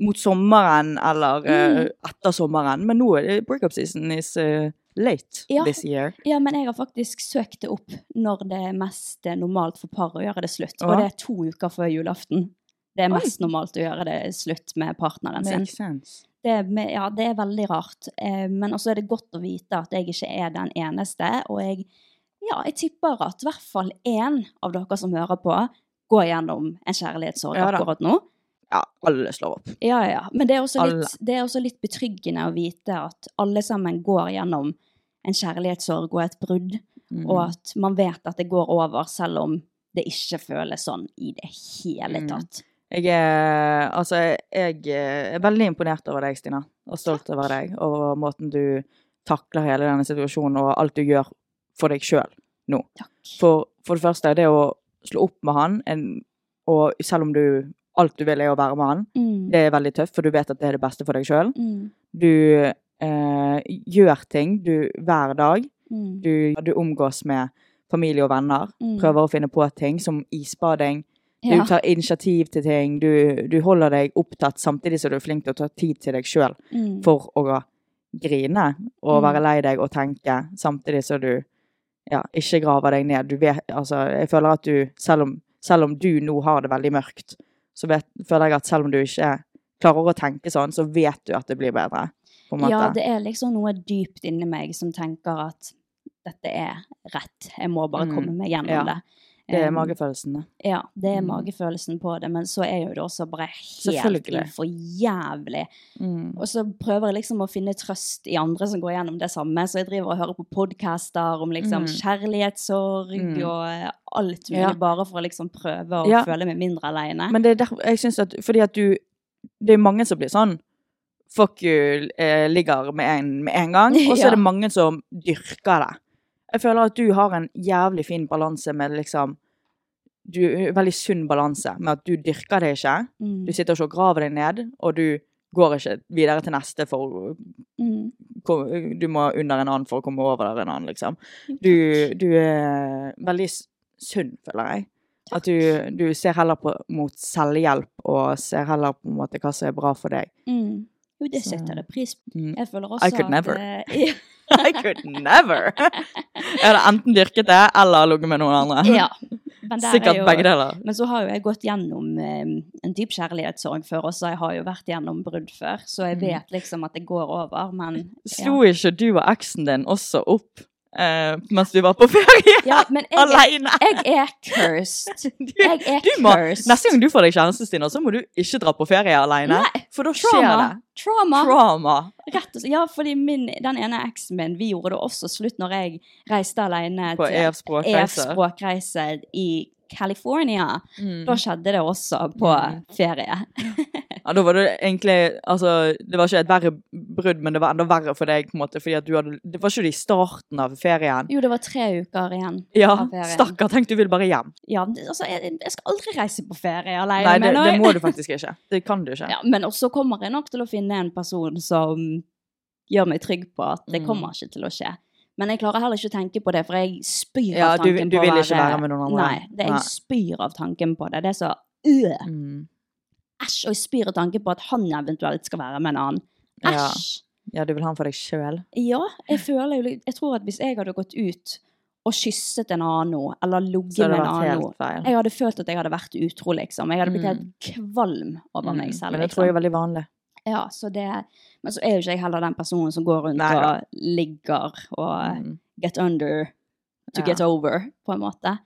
mot sommeren eller
Mm.
eh, etter sommeren. Men nå er det breakup season is eh, late
Ja.
this year.
Ja, men jeg har faktisk søkt det opp når det er mest eh, normalt for par å gjøre det slutt.
Ja.
Og det er to uker før julaften. Det er
Oi.
mest normalt å gjøre det slutt med partneren sin.
Makes sense.
Det, er me- ja, det er veldig rart. Eh, men også er det godt å vite at jeg ikke er den eneste. Og jeg, ja, jeg tipper at i hvert fall én av dere som hører på, går gjennom en kjærlighetssorg
Ja da.
akkurat nå.
Ja, alle slår opp.
Ja, ja. Men det er, også
Alle.
litt, det er også litt betryggende å vite at alle sammen går gjennom en kjærlighetssorg og et brudd,
Mm.
og at man vet at det går over, selv om det ikke føles sånn i det hele
Mm.
tatt.
Jeg er, altså, jeg eh, er veldig imponert over deg, Stina. Og stolt over deg. Og måten du takler hele denne situasjonen, og alt du gjør for deg sjøl nå.
Takk.
For, for det første, det å slå opp med han, en, og selv om du Alt du vil, er å være med han.
Mm.
Det er veldig tøft, for du vet at det er det beste for deg sjøl.
Mm.
Du eh, gjør ting du, hver dag.
Mm.
Du, du omgås med familie og venner.
Mm.
Prøver å finne på ting, som isbading. Du
Ja.
tar initiativ til ting, du, du holder deg opptatt samtidig som du er flink til å ta tid til deg sjøl
Mm.
for å grine
Mm.
og være lei deg og tenke, samtidig som du ja, ikke graver deg ned. Du vet, altså, jeg føler at du, selv om, selv om du nå har det veldig mørkt, så vet, føler jeg at selv om du ikke klarer å tenke sånn, så vet du at det blir bedre. På en måte.
Ja, det er liksom noe dypt inni meg som tenker at dette er rett. Jeg må bare
Mm.
komme meg gjennom
Ja.
det.
Det er
Um,
magefølelsen. da.
Ja, det er
Mm.
magefølelsen på det, men så er jo det også bare helt
Selvfølgelig.
for jævlig.
Mm.
Og så prøver jeg liksom å finne trøst i andre som går gjennom det samme, så jeg driver og hører på podcaster om liksom
Mm.
kjærlighetssorg
Mm.
og eh, alt mulig,
Ja.
bare for å liksom prøve å
Ja.
føle meg mindre alene.
Men det er derfor, jeg synes at, fordi at du, det er mange som blir sånn, fuck you, eh, ligger med en, med en gang, og så
Ja.
er det mange som dyrker det. Jeg føler at du har en jævlig fin balanse med liksom, du en veldig sunn balanse, med at du dyrker det ikke,
Mm.
du sitter ikke og graver deg ned, og du går ikke videre til neste for
Mm.
kom- du må under en annen for å komme over der en annen, liksom. Du, du er veldig s- sunn, føler jeg. At du, du ser heller på, mot selvhjelp, og ser heller på en måte hva som er bra for deg.
Mm. Jo, det
Så-
setter jeg pris på.
Mm.
Jeg føler også
could never.
at eh,
I could never! Jeg hadde enten dyrket det, eller ligget med noen andre.
Ja. Men der er
Sikkert
jo,
begge deler.
Men så har jo jeg gått gjennom eh, en dyp kjærlighetssorg før også. Jeg har jo vært gjennom brudd før, så jeg
Mm.
vet liksom at det går over, men ja.
Slo ikke du og eksen din også opp eh, mens du var på ferie?
ja, men jeg,
Alene!
jeg er cursed.
Du,
Jeg er
du må,
cursed.
neste gang du får deg kjæreste, Stina, så må du ikke dra på ferie alene. For da skjer
Trauma.
det.
Trauma.
Trauma.
Rett og slett. Ja, fordi min, den ene eksen min, vi gjorde det også slutt når jeg reiste alene
På E
til
EF språkreiser.
EF-språkreise i California.
Mm.
Da skjedde det også på
Mm.
ferie.
Ja, da var det egentlig Altså, det var ikke et verre brudd, men det var enda verre for deg, på en måte, fordi at du hadde Det var ikke det i starten av ferien.
Jo, det var tre uker igjen.
Ja,
av ferien.
stakkar, tenk du vil bare hjem.
Ja, det- altså, jeg, jeg skal aldri reise på ferie alene,
Nei, det,
mener
det
jeg.
må du faktisk ikke. Det kan du ikke.
Ja, men også kommer jeg nok til å finne en person som gjør meg trygg på at det
Mm.
kommer ikke til å skje. Men jeg klarer heller ikke å tenke på det, for jeg spyr
Ja,
av
du-
tanken
du
på
vil
å
ikke være med noen andre.
Nei, det, jeg
Nei.
spyr av tanken på det. Det er så øh,
Mm.
æsj, og jeg spyr av tanken på at han eventuelt skal være med en annen.
Ja.
Æsj!
ja, du vil ha den for deg sjøl.
Ja, jeg føler jo litt Jeg tror at hvis jeg hadde gått ut og kysset en annen nå, eller
Så
ligget
hadde
med en
det vært
annen nå
helt feil.
jeg hadde følt at jeg hadde vært utro, liksom. Jeg hadde blitt helt
Mm.
kvalm over meg selv.
Men det
liksom.
tror jeg er veldig vanlig.
Ja, så det, men så er jo ikke jeg heller den personen som går rundt
Nei da.
og ligger og
Mm.
get under to
Ja.
get over, på en måte.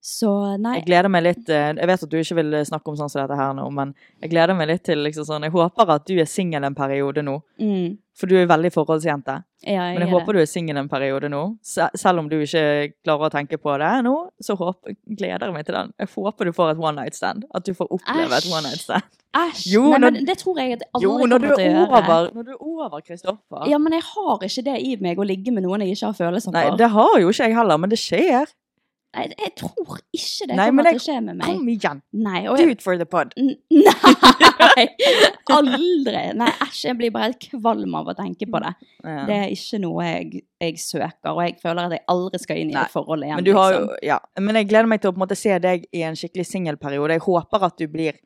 Så nei.
Jeg gleder meg litt eh, Jeg vet at du ikke vil snakke om sånn som dette her nå, men jeg gleder meg litt til liksom sånn Jeg håper at du er singel en periode nå,
Mm,
for du er veldig forholdsjente.
ja, jeg
Men jeg
er
håper du er singel en periode nå. Se- Selv om du ikke klarer å tenke på det nå, så håper, gleder jeg meg til den. Jeg håper du får et one night stand. At du får oppleve et
Æsj.
one night stand.
Æsj!
Jo,
nei,
når-
men det tror jeg at jeg aldri
Jo, når du
kommer
er
til å gjøre.
over, når du er over Kristoffer.
Ja, men jeg har ikke det i meg å ligge med noen jeg ikke har følelser
Nei,
for.
det har jo ikke jeg heller, men det skjer.
Nei, jeg tror ikke det
Nei, men
kommer til å
jeg-
skje med meg.
Kom igjen,
Nei, og
do
jeg,
it for the pod.
N- Nei! Aldri! Nei, æsj, jeg blir bare helt kvalm av å tenke på det.
Ja.
Det er ikke noe jeg, jeg søker, og jeg føler at jeg aldri skal inn i
Nei,
et forhold igjen.
Men, du har jo,
liksom.
ja. men jeg gleder meg til å på en måte se deg i en skikkelig singelperiode. Jeg håper at du blir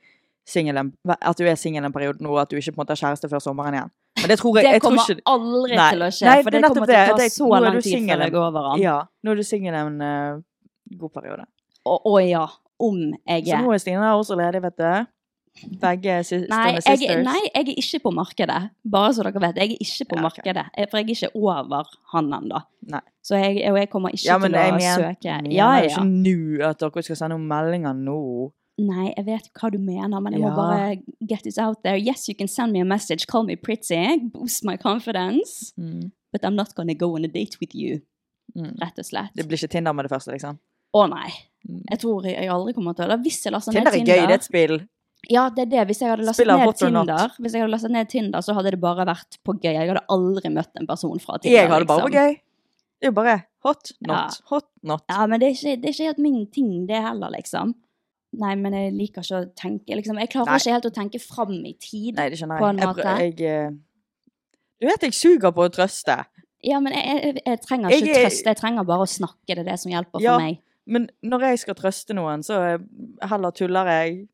singel en- at du er singel en periode nå, og at du ikke på en måte har kjæreste før sommeren igjen. Men det tror jeg,
Det
jeg tror
kommer
ikke
aldri
Nei.
til å skje, for
Nei, det er
det,
nettopp
kommer til å
det.
ta
Det-
så
nå er
lang
du
tid
singel.
før det går over an.
Ja, nå er du singel en eh, god periode.
Og, og ja, om jeg
Så
er
nå er Stina også ledig, vet du. Begge er sis-
Nei
Stone
jeg,
sisters.
nei, jeg er ikke på markedet. Bare så dere vet. Jeg er ikke på
Ja, ok.
markedet. Eh, For jeg er ikke over han ennå.
Nei.
Så jeg, og jeg kommer ikke
ja, men
til å
jeg mener,
søke.
mener
Ja, ja.
ikke nå at dere skal sende noen meldinger nå.
Nei, jeg vet hva du mener, men jeg må
Ja.
bare get it out there. Yes, you can send me a message. Call me pretty. Boost my confidence. But I'm not gonna go on a date with you.
Mm.
Rett og slett.
Det blir ikke Tinder med det første, liksom.
Å nei.
Mm.
Jeg tror jeg aldri kommer til å Hvis jeg laster ned
Tinder er gøy, det er et spill.
Ja, det er det. Hvis jeg hadde lastet
Spiller
ned
Hot or Not.
Tinder, Hvis jeg hadde lastet ned Tinder, så hadde det bare vært på gøy. Jeg hadde aldri møtt en person fra Tinder.
Jeg har det bare
liksom.
på gøy. Det er jo bare hot, not,
Ja.
hot, not.
Ja, men det er, ikke, det er ikke helt min ting, det heller, liksom. Nei, men jeg liker ikke å tenke liksom. Jeg klarer
Nei.
ikke helt å tenke fram i tid.
Nei, det skjønner
På
jeg.
en
jeg, prø-
måte.
jeg eh, du vet jeg suger på å trøste,
Ja, men jeg, jeg, jeg trenger
Jeg
ikke
er-
trøst. Jeg trenger bare å snakke. Det er det som hjelper for
Ja.
meg.
men når jeg skal trøste noen, så eh, heller tuller jeg.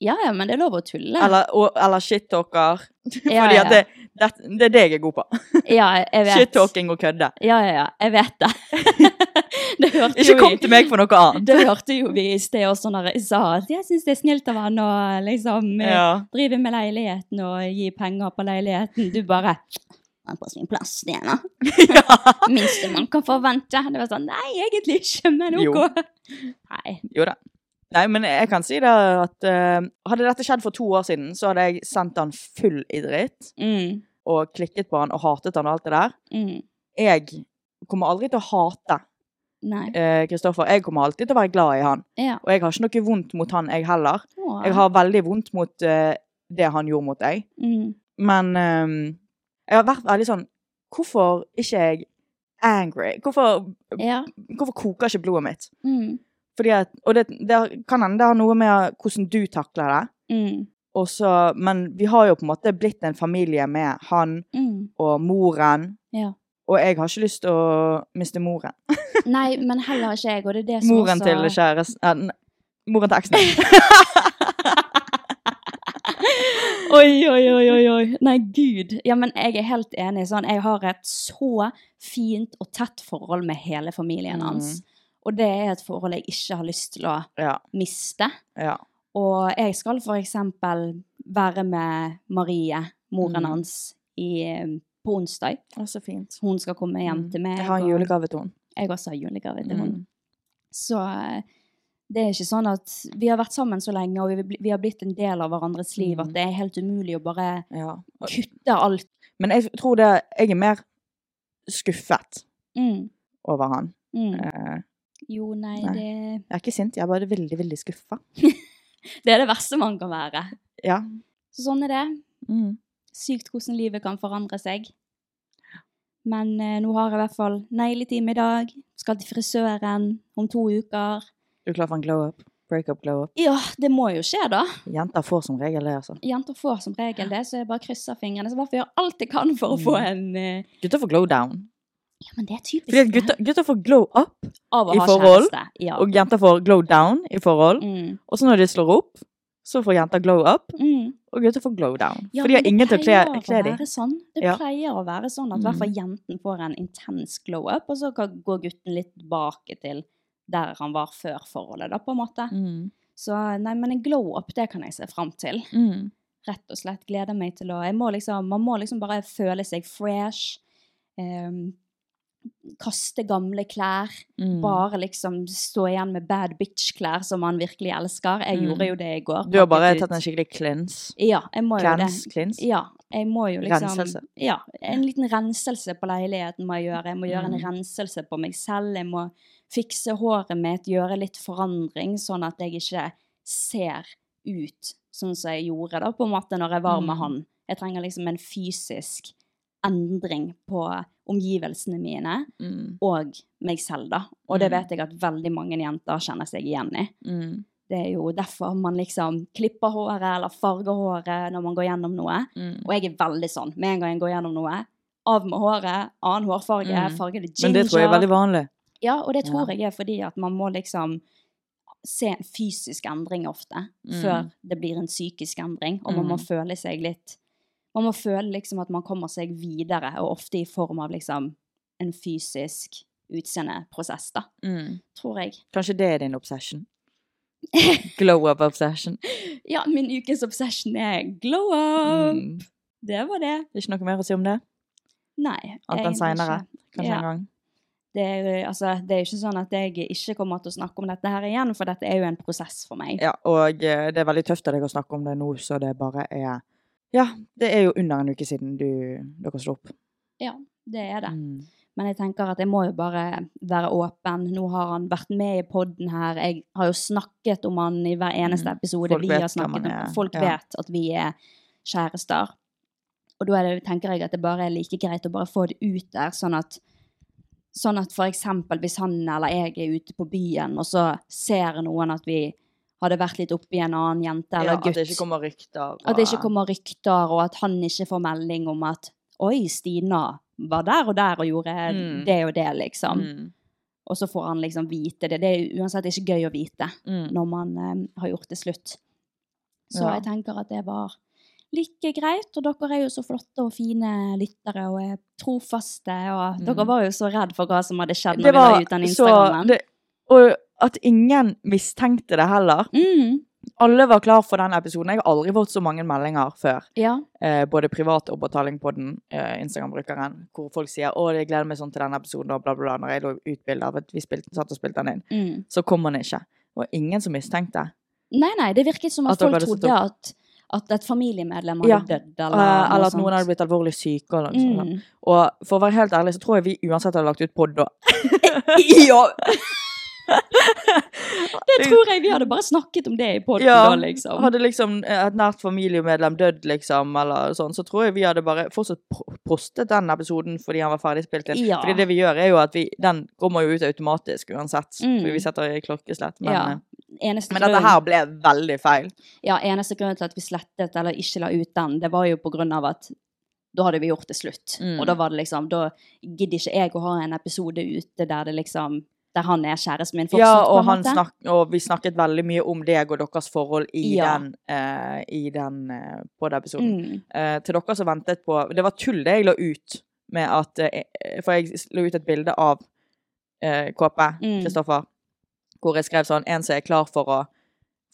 Ja, ja, men det er lov å tulle.
Eller, og, eller shit-talker. Fordi
ja, ja.
at det, det, det er det jeg er god på.
Ja, jeg vet.
Shit-talking og kødde.
Ja, ja, ja. Jeg vet det. det hørte
Ikke
jo
kom
vi-
til meg for noe annet.
Det hørte jo vi i sted også når jeg sa at jeg syns det er snilt av han å liksom eh,
Ja.
drive med leiligheten og gi penger på leiligheten. Du bare «Han er på sin plass, det er da. Minste man kan forvente. Det var sånn Nei, egentlig ikke, men
Jo.
OK. Nei.
Jo da. Nei, men jeg kan si det at eh, hadde dette skjedd for to år siden, så hadde jeg sendt han full i dritt,
Mm.
og klikket på han og hatet han og alt det der.
Mm.
Jeg kommer aldri til å hate
Nei.
eh, Kristoffer. Jeg kommer alltid til å være glad i han.
Ja.
Og jeg har ikke noe vondt mot han, jeg heller.
Å.
Jeg har veldig vondt mot eh, det han gjorde mot deg.
mm.
Men ehm, jeg har vært veldig sånn Hvorfor ikke jeg angry? Hvorfor,
Ja.
hvorfor koker ikke blodet mitt?
Mm.
Fordi at, og det, det kan hende det har noe med hvordan du takler det.
Mm.
Og så- men vi har jo på en måte blitt en familie med han
Mm.
og moren.
Ja.
Og jeg har ikke lyst til å miste moren.
Nei, men heller ikke jeg, og det er det som
Moren
også
til kjæresten eh, n- Moren til eksen.
Oi, oi, oi, oi, oi. Nei, gud. Ja, men jeg er helt enig. Sånn. Jeg har et så fint og tett forhold med hele familien
Mm.
hans. Og det er et forhold jeg ikke har lyst til å
Ja.
miste.
ja.
Og jeg skal for eksempel være med Marie, moren
Mm.
hans, i, på onsdag.
Å, så fint.
Hun skal komme hjem til meg.
Mm. Jeg har en
og-
julegave til henne.
Jeg også har julegave til henne.
Mm.
Så eh, det er ikke sånn at vi har vært sammen så lenge, og vi, bli- vi har blitt en del av hverandres liv,
Mm.
at det er helt umulig å bare
Ja.
kutte alt.
Men jeg tror det Jeg er mer skuffet
Mm.
over han.
Mm.
Eh,
Jo, nei,
Nei.
det
Jeg er ikke sint, jeg er bare veldig, veldig skuffa.
Det er det verste man kan være.
Ja.
Så sånn er det.
Mm.
Sykt hvordan livet kan forandre seg. Men eh, nå har jeg i hvert fall negletime i dag. Skal til frisøren om to uker.
Du er klar for en glow up? Break up, glow up?
Ja, det må jo skje, da.
Jenter får som regel det, altså.
Jenter får som regel det, så jeg bare krysser fingrene. Så i hvert fall gjør alt jeg kan for å få
Mm.
en eh,
Gutter får glow down.
Ja, men det er typisk
Fordi at
det,
gutter, gutter får glow up,
av å
i
ha
forhold,
kjæreste. Ja.
og jenter får glow down i forhold.
Mm.
Og så når de slår opp, så får jenter glow up,
Mm.
og gutter får glow down.
Ja,
For de
men
har ingen til å kle,
Det
kle
pleier å
dem.
være sånn. Det
Ja. Mm.
pleier å være sånn at i hvert fall jenten får en intens glow up, og så kan- går gutten litt tilbake til der han var før forholdet, da, på en måte.
Mm.
Så nei, men en glow up, det kan jeg se fram til.
mm,
Rett og slett gleder meg til å jeg må liksom, Man må liksom bare føle seg fresh. ehm, kaste gamle klær.
Mm.
Bare liksom stå igjen med bad bitch-klær som man virkelig elsker. Jeg
Mm.
gjorde jo det i går.
Du har bare
pakket ut-
tatt en skikkelig cleanse.
Ja, jeg må jo det.
Cleanse, cleanse.
Ja, jeg må jo liksom
Renselse.
Ja, en liten renselse på leiligheten må jeg gjøre. Jeg må gjøre en
Mm.
renselse på meg selv. Jeg må fikse håret mitt, gjøre litt forandring, sånn at jeg ikke ser ut sånn som jeg gjorde da, på en måte, når jeg var med
Mm.
han. Jeg trenger liksom en fysisk endring på omgivelsene mine
Mm.
og meg selv, da. Og det
Mm.
vet jeg at veldig mange jenter kjenner seg igjen i.
Mm.
Det er jo derfor man liksom klipper håret eller farger håret når man går gjennom noe.
Mm.
Og jeg er veldig sånn. Med en gang jeg går gjennom noe, av med håret, annen hårfarge,
Mm.
farge det ginger.
Men det tror jeg er veldig vanlig.
Ja, og det tror
Ja.
jeg er fordi at man må liksom se en fysisk endring ofte
Mm.
før det blir en psykisk endring, og man må
Mm.
føle seg litt Man må føle liksom at man kommer seg videre, og ofte i form av liksom en fysisk utseendeprosess, da,
Mm.
tror jeg.
Kanskje det er din obsession? Glow up obsession.
Ja, min ukens obsession er glow up!
Mm.
Det var det.
Det er ikke noe mer å si om det?
Nei.
Annet enn
egentlig
seinere,
ikke.
kanskje
Ja.
en gang.
Det er, jo- altså, det er jo ikke sånn at jeg ikke kommer til å snakke om dette her igjen, for dette er jo en prosess for meg.
Ja, og eh, det er veldig tøft av deg å snakke om det nå, så det bare er Ja, det er jo under en uke siden du, dere slo opp.
Det er det.
Mm.
Men jeg tenker at jeg må jo bare være åpen. Nå har han vært med i podden her. Jeg har jo snakket om han i hver eneste
Mm.
episode.
Folk
vi
vet
har
hvem
snakket
han
om.
er,
Folk
ja.
vet at vi er kjærester. Og da er det, tenker jeg at det bare er like greit å bare få det ut der, sånn at Sånn at for eksempel hvis han eller jeg er ute på byen, og så ser noen at vi hadde vært litt oppi en annen jente eller gutt.
At det ikke kommer rykter.
At det ikke kommer rykter, og at han ikke får melding om at Oi, Stina var der og der og gjorde
Mm.
det og det, liksom.
Mm.
Og så får han liksom vite det. Det er uansett ikke gøy å vite
Mm.
når man eh, har gjort det slutt. Så
Ja.
jeg tenker at det var like greit. Og dere er jo så flotte og fine lyttere og er trofaste. Og
Mm.
dere var jo så redd for hva som hadde skjedd
Det
når vi la
var
ut den
så
Instagrammen.
det, Og at ingen mistenkte det heller.
Mm,
Alle var klar for den episoden. Jeg har aldri fått så mange meldinger før.
ja.
eh, både privat og på Tallingpodden, eh, Instagram-brukeren, hvor folk sier 'Å, jeg gleder meg sånn til denne episoden', og bla, bla, bla, når jeg lå ut bilder av at vi spilte, satt og spilte den inn.
Mm.
Så kom han ikke. Det var ingen som mistenkte.
Nei, nei, det virket som at,
At dere
folk
hadde satt
trodde at, at et familiemedlem hadde
Ja.
dødd,
Eh,
eller,
Eller,
noe
at noen hadde blitt sånn, alvorlig syke. Og, noe sånt.
Mm.
og for å være helt ærlig, så tror jeg vi uansett hadde lagt ut pod da.
Ja! det tror jeg vi hadde bare snakket om det i podden
Ja,
da, liksom.
Hadde liksom eh, et nært familiemedlem dødd, liksom, eller sånn, så tror jeg vi hadde bare fortsatt pro- postet den episoden fordi han var ferdig spilt inn.
Ja.
Fordi det vi gjør, er jo at vi, den kommer jo ut automatisk uansett,
Mm.
fordi vi setter i klokkeslett. Men,
Ja.
eh,
Eneste
Men dette
grunn-
her ble veldig feil.
Ja, eneste grunnen til at vi slettet eller ikke la ut den, det var jo på grunn av at da hadde vi gjort det slutt.
Mm.
Og da var det liksom, da gidder ikke jeg å ha en episode ute der det liksom, der han er kjæresten min fortsatt,
Ja,
på
og,
en
han
måte.
snak og vi snakket veldig mye om deg og deres forhold i
Ja.
den, eh, i den eh, på den episoden.
Mm.
Eh, til dere som ventet på Det var tull det jeg la ut med at eh, For jeg s- la ut et bilde av eh, Kåpe,
Mm.
Kristoffer, hvor jeg skrev sånn En som er klar for å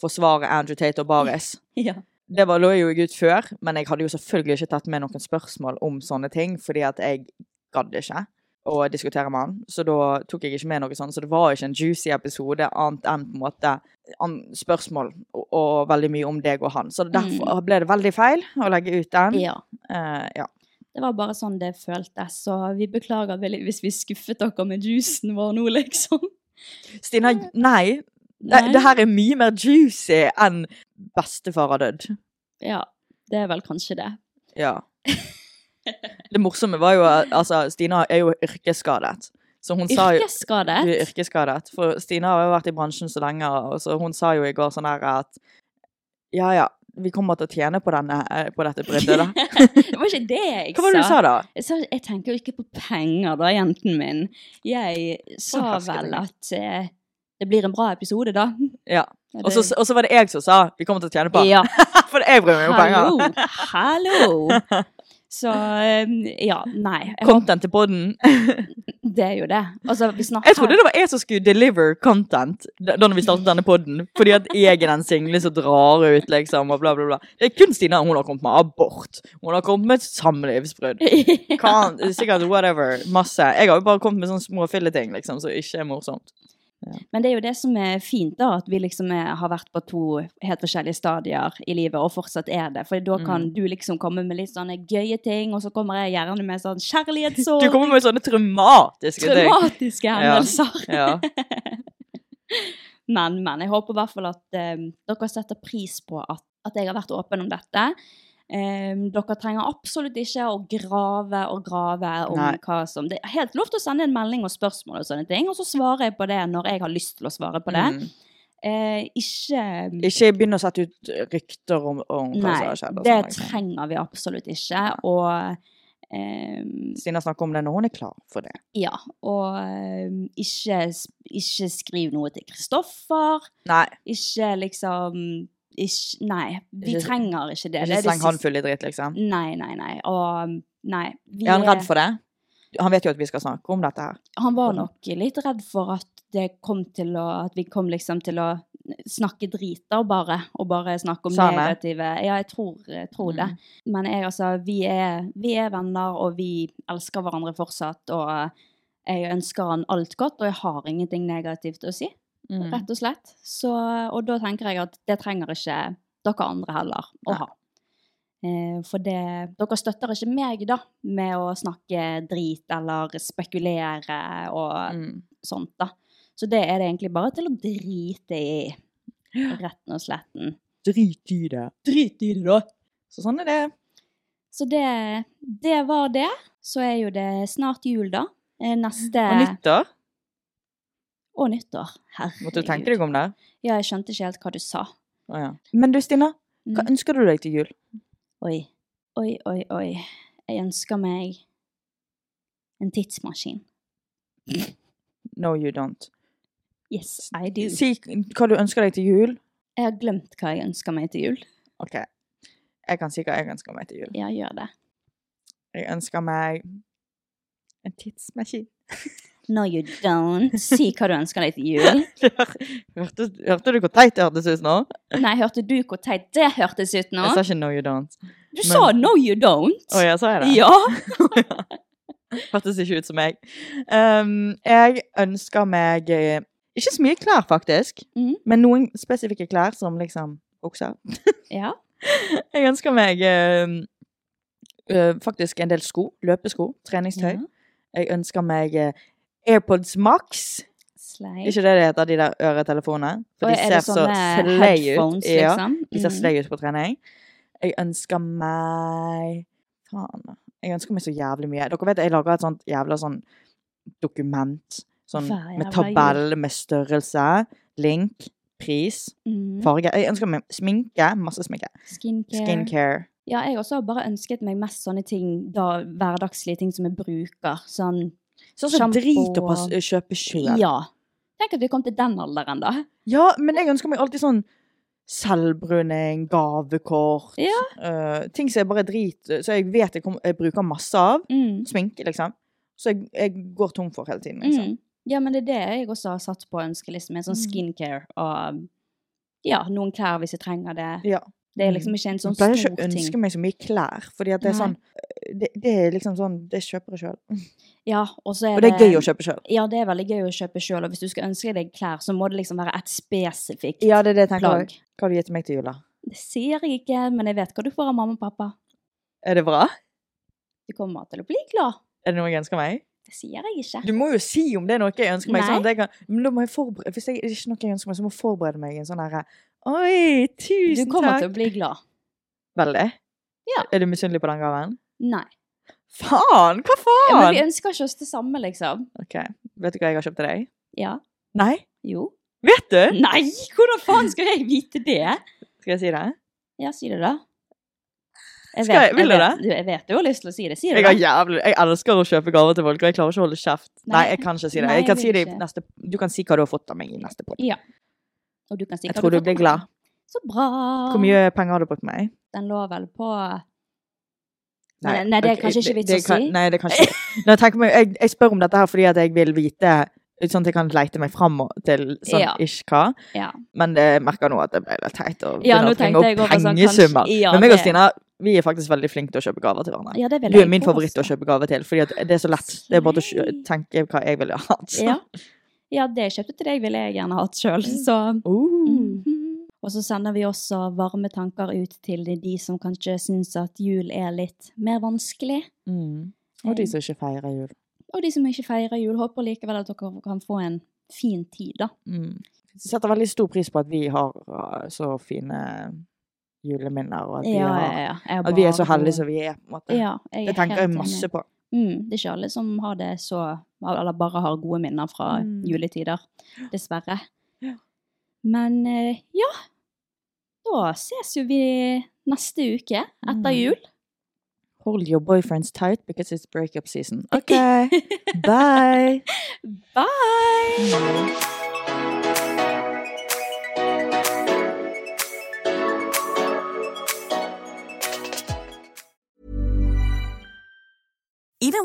forsvare Andrew Tate og Baris.
Ja.
Det var, lå jo jeg ut før, men jeg hadde jo selvfølgelig ikke tatt med noen spørsmål om sånne ting, fordi at jeg gadd ikke å diskutere med han. Så da tok jeg ikke med noe sånt, så det var ikke en juicy episode annet enn på en måte an, spørsmål og, og veldig mye om deg og han. Så derfor ble det veldig feil å legge ut den.
ja.
Eh, ja.
Det var bare sånn det føltes, så vi beklager veldig hvis vi skuffet dere med juicen vår nå, liksom.
Stina, nei, Det,
Nei.
det her er mye mer juicy enn bestefar har dødd.
Ja, det er vel kanskje det.
Ja. Det morsomme var jo at altså, Stina er jo yrkesskadet. Så hun sa jo
Yrkesskadet?
Du er yrkesskadet. For Stina har jo vært i bransjen så lenge, og så hun sa jo i går sånn her at ja, ja, vi kommer til å tjene på, denne, eh, på dette bruddet, da.
det var ikke det jeg
Hva var det du sa da?
Jeg sa- jeg tenker jo ikke på penger, da, jenten min. Jeg sa
Overrasket
vel
meg.
at eh, det blir en bra episode, da.
Ja.
Ja,
Og så og så var det jeg som sa vi kommer til å tjene på
Ja.
For jeg bryr meg jo om penger.
Hallo! Hallo! Så eh, ja, nei. Jeg
Content til podden.
håper det er jo det. Altså, vi snakker
Jeg trodde det var jeg som skulle deliver content da da når vi startet denne podden. Fordi at jeg er den single som drar ut, liksom, og bla, bla, bla. Det er kun Stina. Hun har kommet med abort. Hun har kommet med et samlivsbrudd. Kan, sikkert whatever. Masse. Jeg har jo bare kommet med sånne små filleting, liksom, som ikke er morsomt.
Men det er jo det som er fint, da, at vi liksom er, har vært på to helt forskjellige stadier i livet, og fortsatt er det. For da
Mm.
kan du liksom komme med litt sånne gøye ting, og så kommer jeg gjerne med sånn
Du
kjærlighetssorg,
kommer med sånne traumatiske ting.
traumatiske hendelser.
Ja.
Men, men. Jeg håper i hvert fall at eh, dere setter pris på at, at jeg har vært åpen om dette. Eh, dere trenger absolutt ikke å grave og grave om
Nei.
hva som Det er helt lov til å sende en melding og spørsmål og sånne ting, og så svarer jeg på det når jeg har lyst til å svare på det.
Mm.
Eh, ikke
Ikke begynn å sette ut rykter om, om hva som
Nei,
har skjedd. og
det
sånne ting.
trenger vi absolutt ikke. Og Ehm,
Stina snakker om det når hun er klar for det.
ja, og ehm, ikke, ikke skriv noe til Kristoffer.
Nei.
Ikke liksom ikke, Nei, vi
Ikke-
trenger ikke det. Det
Ikke
er det
sleng han
siste-
full i dritt, liksom.
Nei, nei, nei. Og nei. vi
Er han
er-
redd for det? Han vet jo at vi skal snakke om dette her.
han var
Hvordan?
nok litt redd for at det kom til å At vi kom liksom til å snakke drit da, bare. Og bare snakke om
Sa han det?
negative Ja, jeg tror, jeg tror det. Men jeg, altså, vi er, vi er venner, og vi elsker hverandre fortsatt. Og jeg ønsker han alt godt, og jeg har ingenting negativt å si,
Mm.
rett og slett. Så, og da tenker jeg at det trenger ikke dere andre heller å
Nei.
ha. Eh, For det, dere støtter ikke meg da, med å snakke drit eller spekulere og
Mm.
sånt, da. Så det er det egentlig bare til å drite i, retten og sletten.
Drit i det. Drit i det, da. Så sånn er det.
Så det, det var det. Så er jo det snart jul, da. Eh, Neste
Og nyttår.
Og nyttår. Herregud.
Måtte du tenke deg om det?
Ja, jeg skjønte ikke helt hva du sa.
Å, ja. Men du, Stina. Hva
Mm.
ønsker du deg til jul?
Oi. Oi, oi, oi. Jeg ønsker meg en tidsmaskin.
No, you don't.
Yes, I do.
Si hva du ønsker deg til jul.
Jeg har glemt hva jeg ønsker meg til jul.
OK. Jeg kan si hva jeg ønsker meg til jul.
Ja, gjør det.
Jeg ønsker meg en tidsmaskin.
No, you don't. Si hva du ønsker deg til jul.
hørte, hørte du hvor teit det hørtes ut nå?
Nei, hørte du hvor teit det hørtes ut nå?
Jeg sa ikke 'no, you don't'.
Du
men-
sa 'no, you don't'.
Å, jeg sa jeg det?
Ja.
Hørtes ikke ut som meg. Ehm, jeg ønsker meg eh, ikke så mye klær, faktisk,
Mhm.
men noen spesifikke klær som liksom bukser.
Ja.
Jeg ønsker meg ehm, eh, faktisk en del sko. Løpesko. Treningstøy. Jeg ønsker meg eh, AirPods Max.
Sleip.
Ikke det det heter, de der øretelefonene? For
Og
de
er
ser
det
så
sånne
slay ut.
headphones,
Ja,
liksom?
de ser
Mm.
slay ut på trening. Jeg ønsker meg Faen. da. Jeg ønsker meg så jævlig mye. Dere vet jeg lager et sånt jævla sånn dokument. Sånn
Hver
med
jævla jul.
tabell, med størrelse, link, pris,
Mm.
farge. Jeg ønsker meg sminke. Masse sminke.
Skincare.
Skincare.
Ja, jeg også har bare ønsket meg mest sånne ting, da, hverdagslige ting som jeg bruker. Sånn,
Sånn som
Shampoo
drit å pass-
og-
kjøpe sjøl.
ja. Tenk at vi kom til den alderen, da.
Ja, men jeg ønsker meg alltid sånn selvbruning, gavekort,
Ja.
eh, ting som jeg bare driter Så jeg vet jeg, kom, jeg bruker masse av.
Mm.
Sminke, liksom. Så jeg, jeg går tom for hele tiden. liksom.
Mm. Ja, men det er det jeg også har satt på ønskelisten min. Sånn
Mm.
skincare og ja, noen klær hvis jeg trenger det.
Ja.
Det er liksom ikke en sånn
jeg pleier
stor
ikke å ønske
ting.
meg så mye klær, fordi at det er
Nei.
sånn det, det er liksom sånn Det kjøper jeg sjøl.
Ja, og så er
Og det er gøy å kjøpe sjøl.
Ja, det er veldig gøy å kjøpe sjøl, og hvis du skal ønske deg klær, så må det liksom være et spesifikt
Ja, det er det jeg tenker.
plagg.
også. Hva har du gitt til meg til jul, da?
Det sier jeg ikke, men jeg vet hva du får av mamma og pappa.
Er det bra?
Du kommer til å bli glad.
Er det noe jeg ønsker meg?
Det sier jeg ikke.
Du må jo si om det er noe jeg ønsker meg.
Nei.
Sånn at jeg kan, men da må jeg forberede Hvis jeg, det er ikke noe jeg ønsker meg, så må jeg forberede meg i en sånn herre Oi,
Du
tusen
kommer
takk!
til å bli glad.
Veldig.
Ja.
Er du misunnelig på den gaven?
Nei.
Faen! Hva
Ja, men vi
faen?
ønsker ikke oss det samme, liksom.
Ok, Vet du hva jeg har kjøpt til deg?
Ja.
Nei?
Jo.
Vet du?
Nei! Hvordan faen skal jeg vite det?
Skal jeg si det?
Ja, si det, da.
Skal jeg- vil du
vet,
det?
du- Jeg vet du har lyst til å si det. Si det,
Jeg, har
da.
jævlig, jeg elsker å kjøpe gaver til folk, og jeg klarer ikke å holde kjeft. Nei,
Nei.
jeg kan ikke si det.
Nei,
Jeg kan
jeg
si
vil
det i
ikke.
neste, du kan si hva du har fått av meg i neste podd.
Ja. Og du kan si
Jeg
hva
tror du
får
blir
på meg.
glad.
Så bra.
Hvor mye penger har du brukt på meg?
Den lå vel på Nei, nei, det er
ok,
kanskje ikke
det-
vits
det
å
kan-
si.
Nei, det er kanskje Nei, tenk meg, jeg, jeg spør om dette her fordi at jeg vil vite, sånn at jeg kan leite meg fram og- til sånn
Ja.
ish hva.
Ja.
Men eh, jeg merker nå at det ble litt teit å
Ja,
begynne
nå
å
tenkte
bringe
jeg
opp
også sånn,
pengesummer.
kanskje- ja,
Men meg og
det-
Stina vi er faktisk veldig flinke til å kjøpe gaver til hverandre.
Ja, det vil
Du
jeg
er min favoritt å
påstå.
kjøpe gave til, fordi at det er så lett. Det er bare å kjø-
Slay.
tenke hva jeg ville hatt. så.
Ja. ja, det jeg kjøpte til deg, ville jeg gjerne hatt sjøl,
Mm.
så
Uh.
Mhm. Og så sender vi også varme tanker ut til de som kanskje syns at jul er litt mer vanskelig.
Mm. Og de som ikke feirer jul.
Og de som ikke feirer jul, håper likevel at dere kan få en fin tid, da.
Mm. Jeg setter veldig stor pris på at vi har uh, så fine juleminner, og at, vi har,
Jeg
at vi er så
bare-
heldige som vi er. på en måte.
ja, jeg er
det tenker
helt
jeg masse
enig.
på.
Mm, det er ikke alle som har det så Eller bare har gode minner fra
Mm.
juletider. Dessverre.
Ja.
Men eh, ja. Da ses jo vi neste uke etter
Mm.
jul.
Hold your boyfriends tight because it's breakup season.
OK. Bye.
Bye!
Mm.
Even